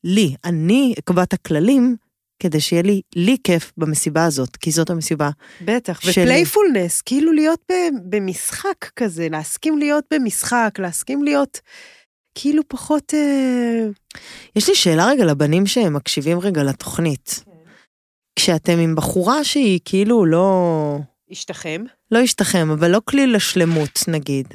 Speaker 3: לי, אני אקבע את הכללים כדי שיהיה לי, לי כיף במסיבה הזאת, כי זאת המסיבה.
Speaker 2: בטח,
Speaker 3: שלי.
Speaker 2: ופלייפולנס, כאילו להיות ב- במשחק כזה, להסכים להיות במשחק, להסכים להיות כאילו פחות... אה,
Speaker 3: יש לי שאלה רגע לבנים שמקשיבים רגע לתוכנית.
Speaker 2: כן.
Speaker 3: כשאתם עם בחורה שהיא כאילו לא...
Speaker 2: השתחם.
Speaker 3: לא השתחם, אבל לא כליל לשלמות נגיד.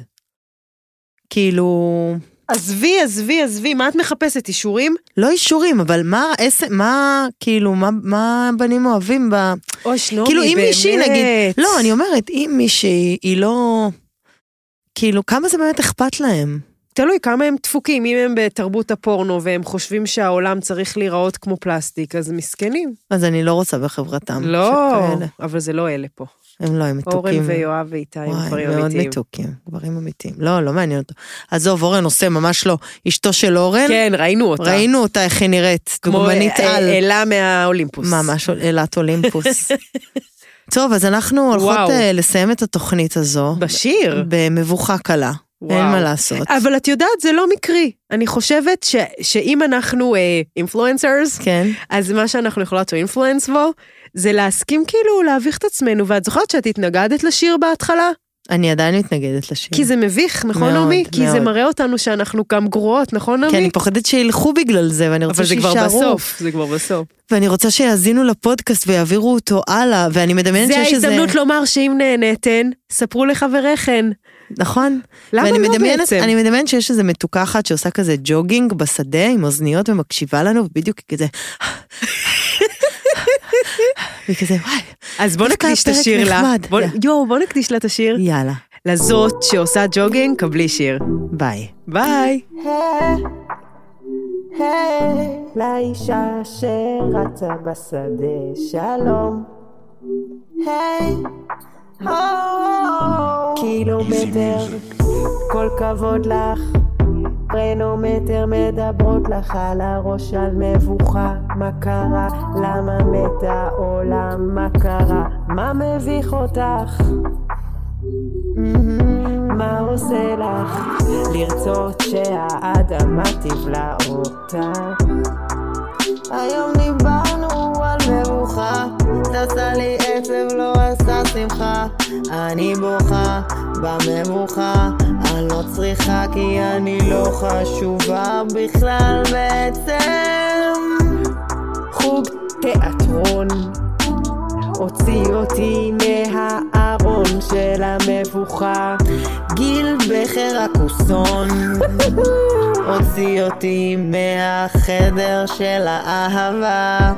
Speaker 3: כאילו...
Speaker 2: עזבי, עזבי, עזבי, מה את מחפשת, אישורים?
Speaker 3: לא אישורים, אבל מה, איזה, מה, כאילו, מה, מה בנים אוהבים ב...
Speaker 2: אוי, שנומי,
Speaker 3: כאילו, אם
Speaker 2: באמת.
Speaker 3: מישהי, נגיד- לא, אני אומרת, אם מישהי היא לא... כאילו, כמה זה באמת אכפת להם?
Speaker 2: תלוי כמה הם דפוקים, אם הם בתרבות הפורנו והם חושבים שהעולם צריך להיראות כמו פלסטיק, אז מסכנים.
Speaker 3: אז אני לא רוצה בחברתם.
Speaker 2: לא,
Speaker 3: שכאלה.
Speaker 2: אבל זה לא אלה פה.
Speaker 3: הם לא,
Speaker 2: אורן
Speaker 3: הם מתוקים.
Speaker 2: ויואב ואיתי הם
Speaker 3: וואי,
Speaker 2: דברים
Speaker 3: הם מאוד
Speaker 2: אמיתיים.
Speaker 3: מתוקים, גברים אמיתיים. לא, לא מעניין אותו. עזוב, אורן עושה ממש לא. אשתו של אורן,
Speaker 2: כן, ראינו אותה.
Speaker 3: ראינו אותה איך היא נראית,
Speaker 2: כמו
Speaker 3: דוגמנית
Speaker 2: אה,
Speaker 3: על.
Speaker 2: אלה מהאולימפוס.
Speaker 3: ממש אילת אולימפוס. טוב, אז אנחנו הולכות
Speaker 2: וואו.
Speaker 3: אה, לסיים את התוכנית הזו.
Speaker 2: בשיר.
Speaker 3: במבוכה קלה.
Speaker 2: וואו. אה,
Speaker 3: אין מה לעשות.
Speaker 2: אבל את יודעת, זה לא מקרי. אני חושבת ש, שאם אנחנו אינפלואנסרס, uh,
Speaker 3: כן.
Speaker 2: אז מה שאנחנו יכולות אינפלואנס בו, זה להסכים כאילו להביך את עצמנו. ואת זוכרת שאת התנגדת לשיר בהתחלה?
Speaker 3: אני עדיין מתנגדת לשיר.
Speaker 2: כי זה מביך, נכון
Speaker 3: כן. מאוד,
Speaker 2: נעמי? כי זה
Speaker 3: מאוד.
Speaker 2: מראה אותנו שאנחנו גם גרועות, נכון
Speaker 3: כי אני
Speaker 2: נעמי?
Speaker 3: פוחדת שילכו בגלל זה, ואני רוצה
Speaker 2: אבל זה
Speaker 3: שיישארו.
Speaker 2: כבר בסוף, זה כבר בסוף.
Speaker 3: ואני רוצה שיאזינו לפודקאסט ויעבירו אותו הלאה, ואני מדמיינת
Speaker 2: זה
Speaker 3: שיש איזה...
Speaker 2: ההזדמנות לומר שאם נהניתן, ספרו לחבריכן.
Speaker 3: נכון.
Speaker 2: לא- למה
Speaker 3: ואני
Speaker 2: לא
Speaker 3: מדמיינת-
Speaker 2: בעצם?
Speaker 3: אני מדמיינת שיש איזה מתוקה אחת שעושה כזה ג'וגינג בשדה עם אוזניות ומקשיבה לנו, ובדיוק היא כזה... וכזה, וואי,
Speaker 2: אז בוא
Speaker 3: דווקא
Speaker 2: נקדיש את
Speaker 3: הפרק
Speaker 2: השיר לה.
Speaker 3: נחמד.
Speaker 2: בוא-
Speaker 3: יא.
Speaker 2: יואו, בוא נקדיש לה את השיר.
Speaker 3: יאללה,
Speaker 2: לזאת שעושה ג'וגינג, קבלי שיר.
Speaker 3: ביי.
Speaker 2: ביי.
Speaker 8: לאישה שרצה בשדה שלום. היי, קילומטר, כל כבוד לך. פרנומטר מדברות לך על הראש, על מבוכה, מה קרה? למה מת העולם? מה קרה? מה מביך אותך? מה עושה לך לרצות שהאדמה תבלע אותה?
Speaker 9: היום דיברנו על מבוכה, עשה לי עצב לא עשה שמחה, אני בוכה במבוכה, אני לא צריכה כי אני לא חשובה בכלל בעצם.
Speaker 8: חוג תיאטרון הוציא אותי מהארון של המבוכה
Speaker 9: גיל בכר הקוסון
Speaker 3: הוציא אותי מהחדר של האהבה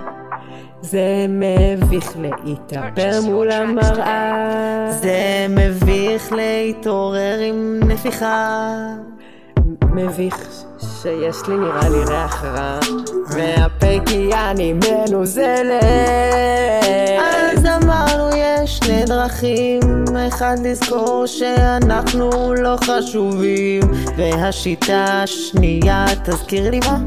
Speaker 2: זה מביך להתאפר מול המראה.
Speaker 3: זה מביך להתעורר עם נפיחה
Speaker 2: מביך שיש לי נראה לי ריח רע. מהפה כי אני מנוזלת.
Speaker 3: אז אמרנו יש שני דרכים, אחד לזכור שאנחנו לא חשובים, והשיטה השנייה תזכיר לי מה?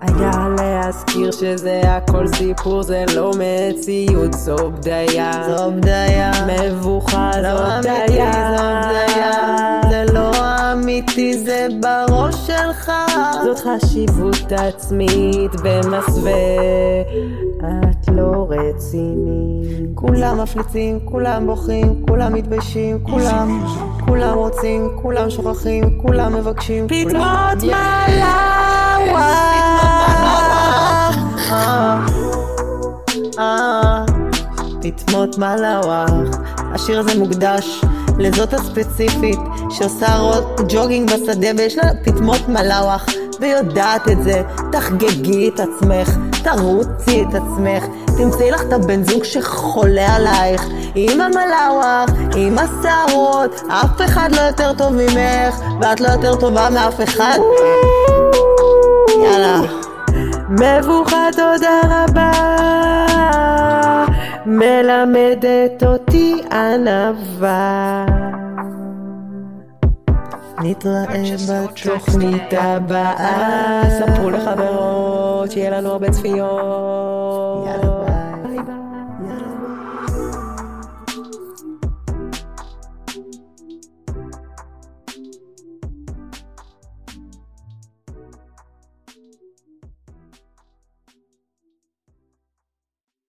Speaker 2: היה להזכיר שזה הכל סיפור, זה לא מציאות, זו בדיה.
Speaker 3: זו בדיה,
Speaker 2: מבוכה,
Speaker 3: לא
Speaker 2: זו
Speaker 3: אמיתי,
Speaker 2: בדיה.
Speaker 3: זו בדיה, זה לא אמיתי, זה בראש שלך.
Speaker 2: זאת חשיבות עצמית במסווה, את לא רצינית.
Speaker 3: כולם מפליצים, כולם בוכים, כולם מתביישים, כולם, כולם רוצים, כולם שוכחים, כולם מבקשים, כולם...
Speaker 2: פתמות מלאווה.
Speaker 3: אה, אה, פטמות מלאווח. השיר הזה מוקדש לזאת הספציפית שעושה רו- ג'וגינג בשדה ויש לה פטמות מלאווח ויודעת את זה. תחגגי את עצמך, תרוצי את עצמך, תמצאי לך את הבן זוג שחולה עלייך. עם המלאווח, עם השערות, אף אחד לא יותר טוב ממך ואת לא יותר טובה מאף אחד. יאללה.
Speaker 2: מבוכה תודה רבה, מלמדת אותי ענווה.
Speaker 3: נתראה בתוכנית
Speaker 2: תוכנית הבאה, ספרו לחברות, שיהיה לנו הרבה צפיות.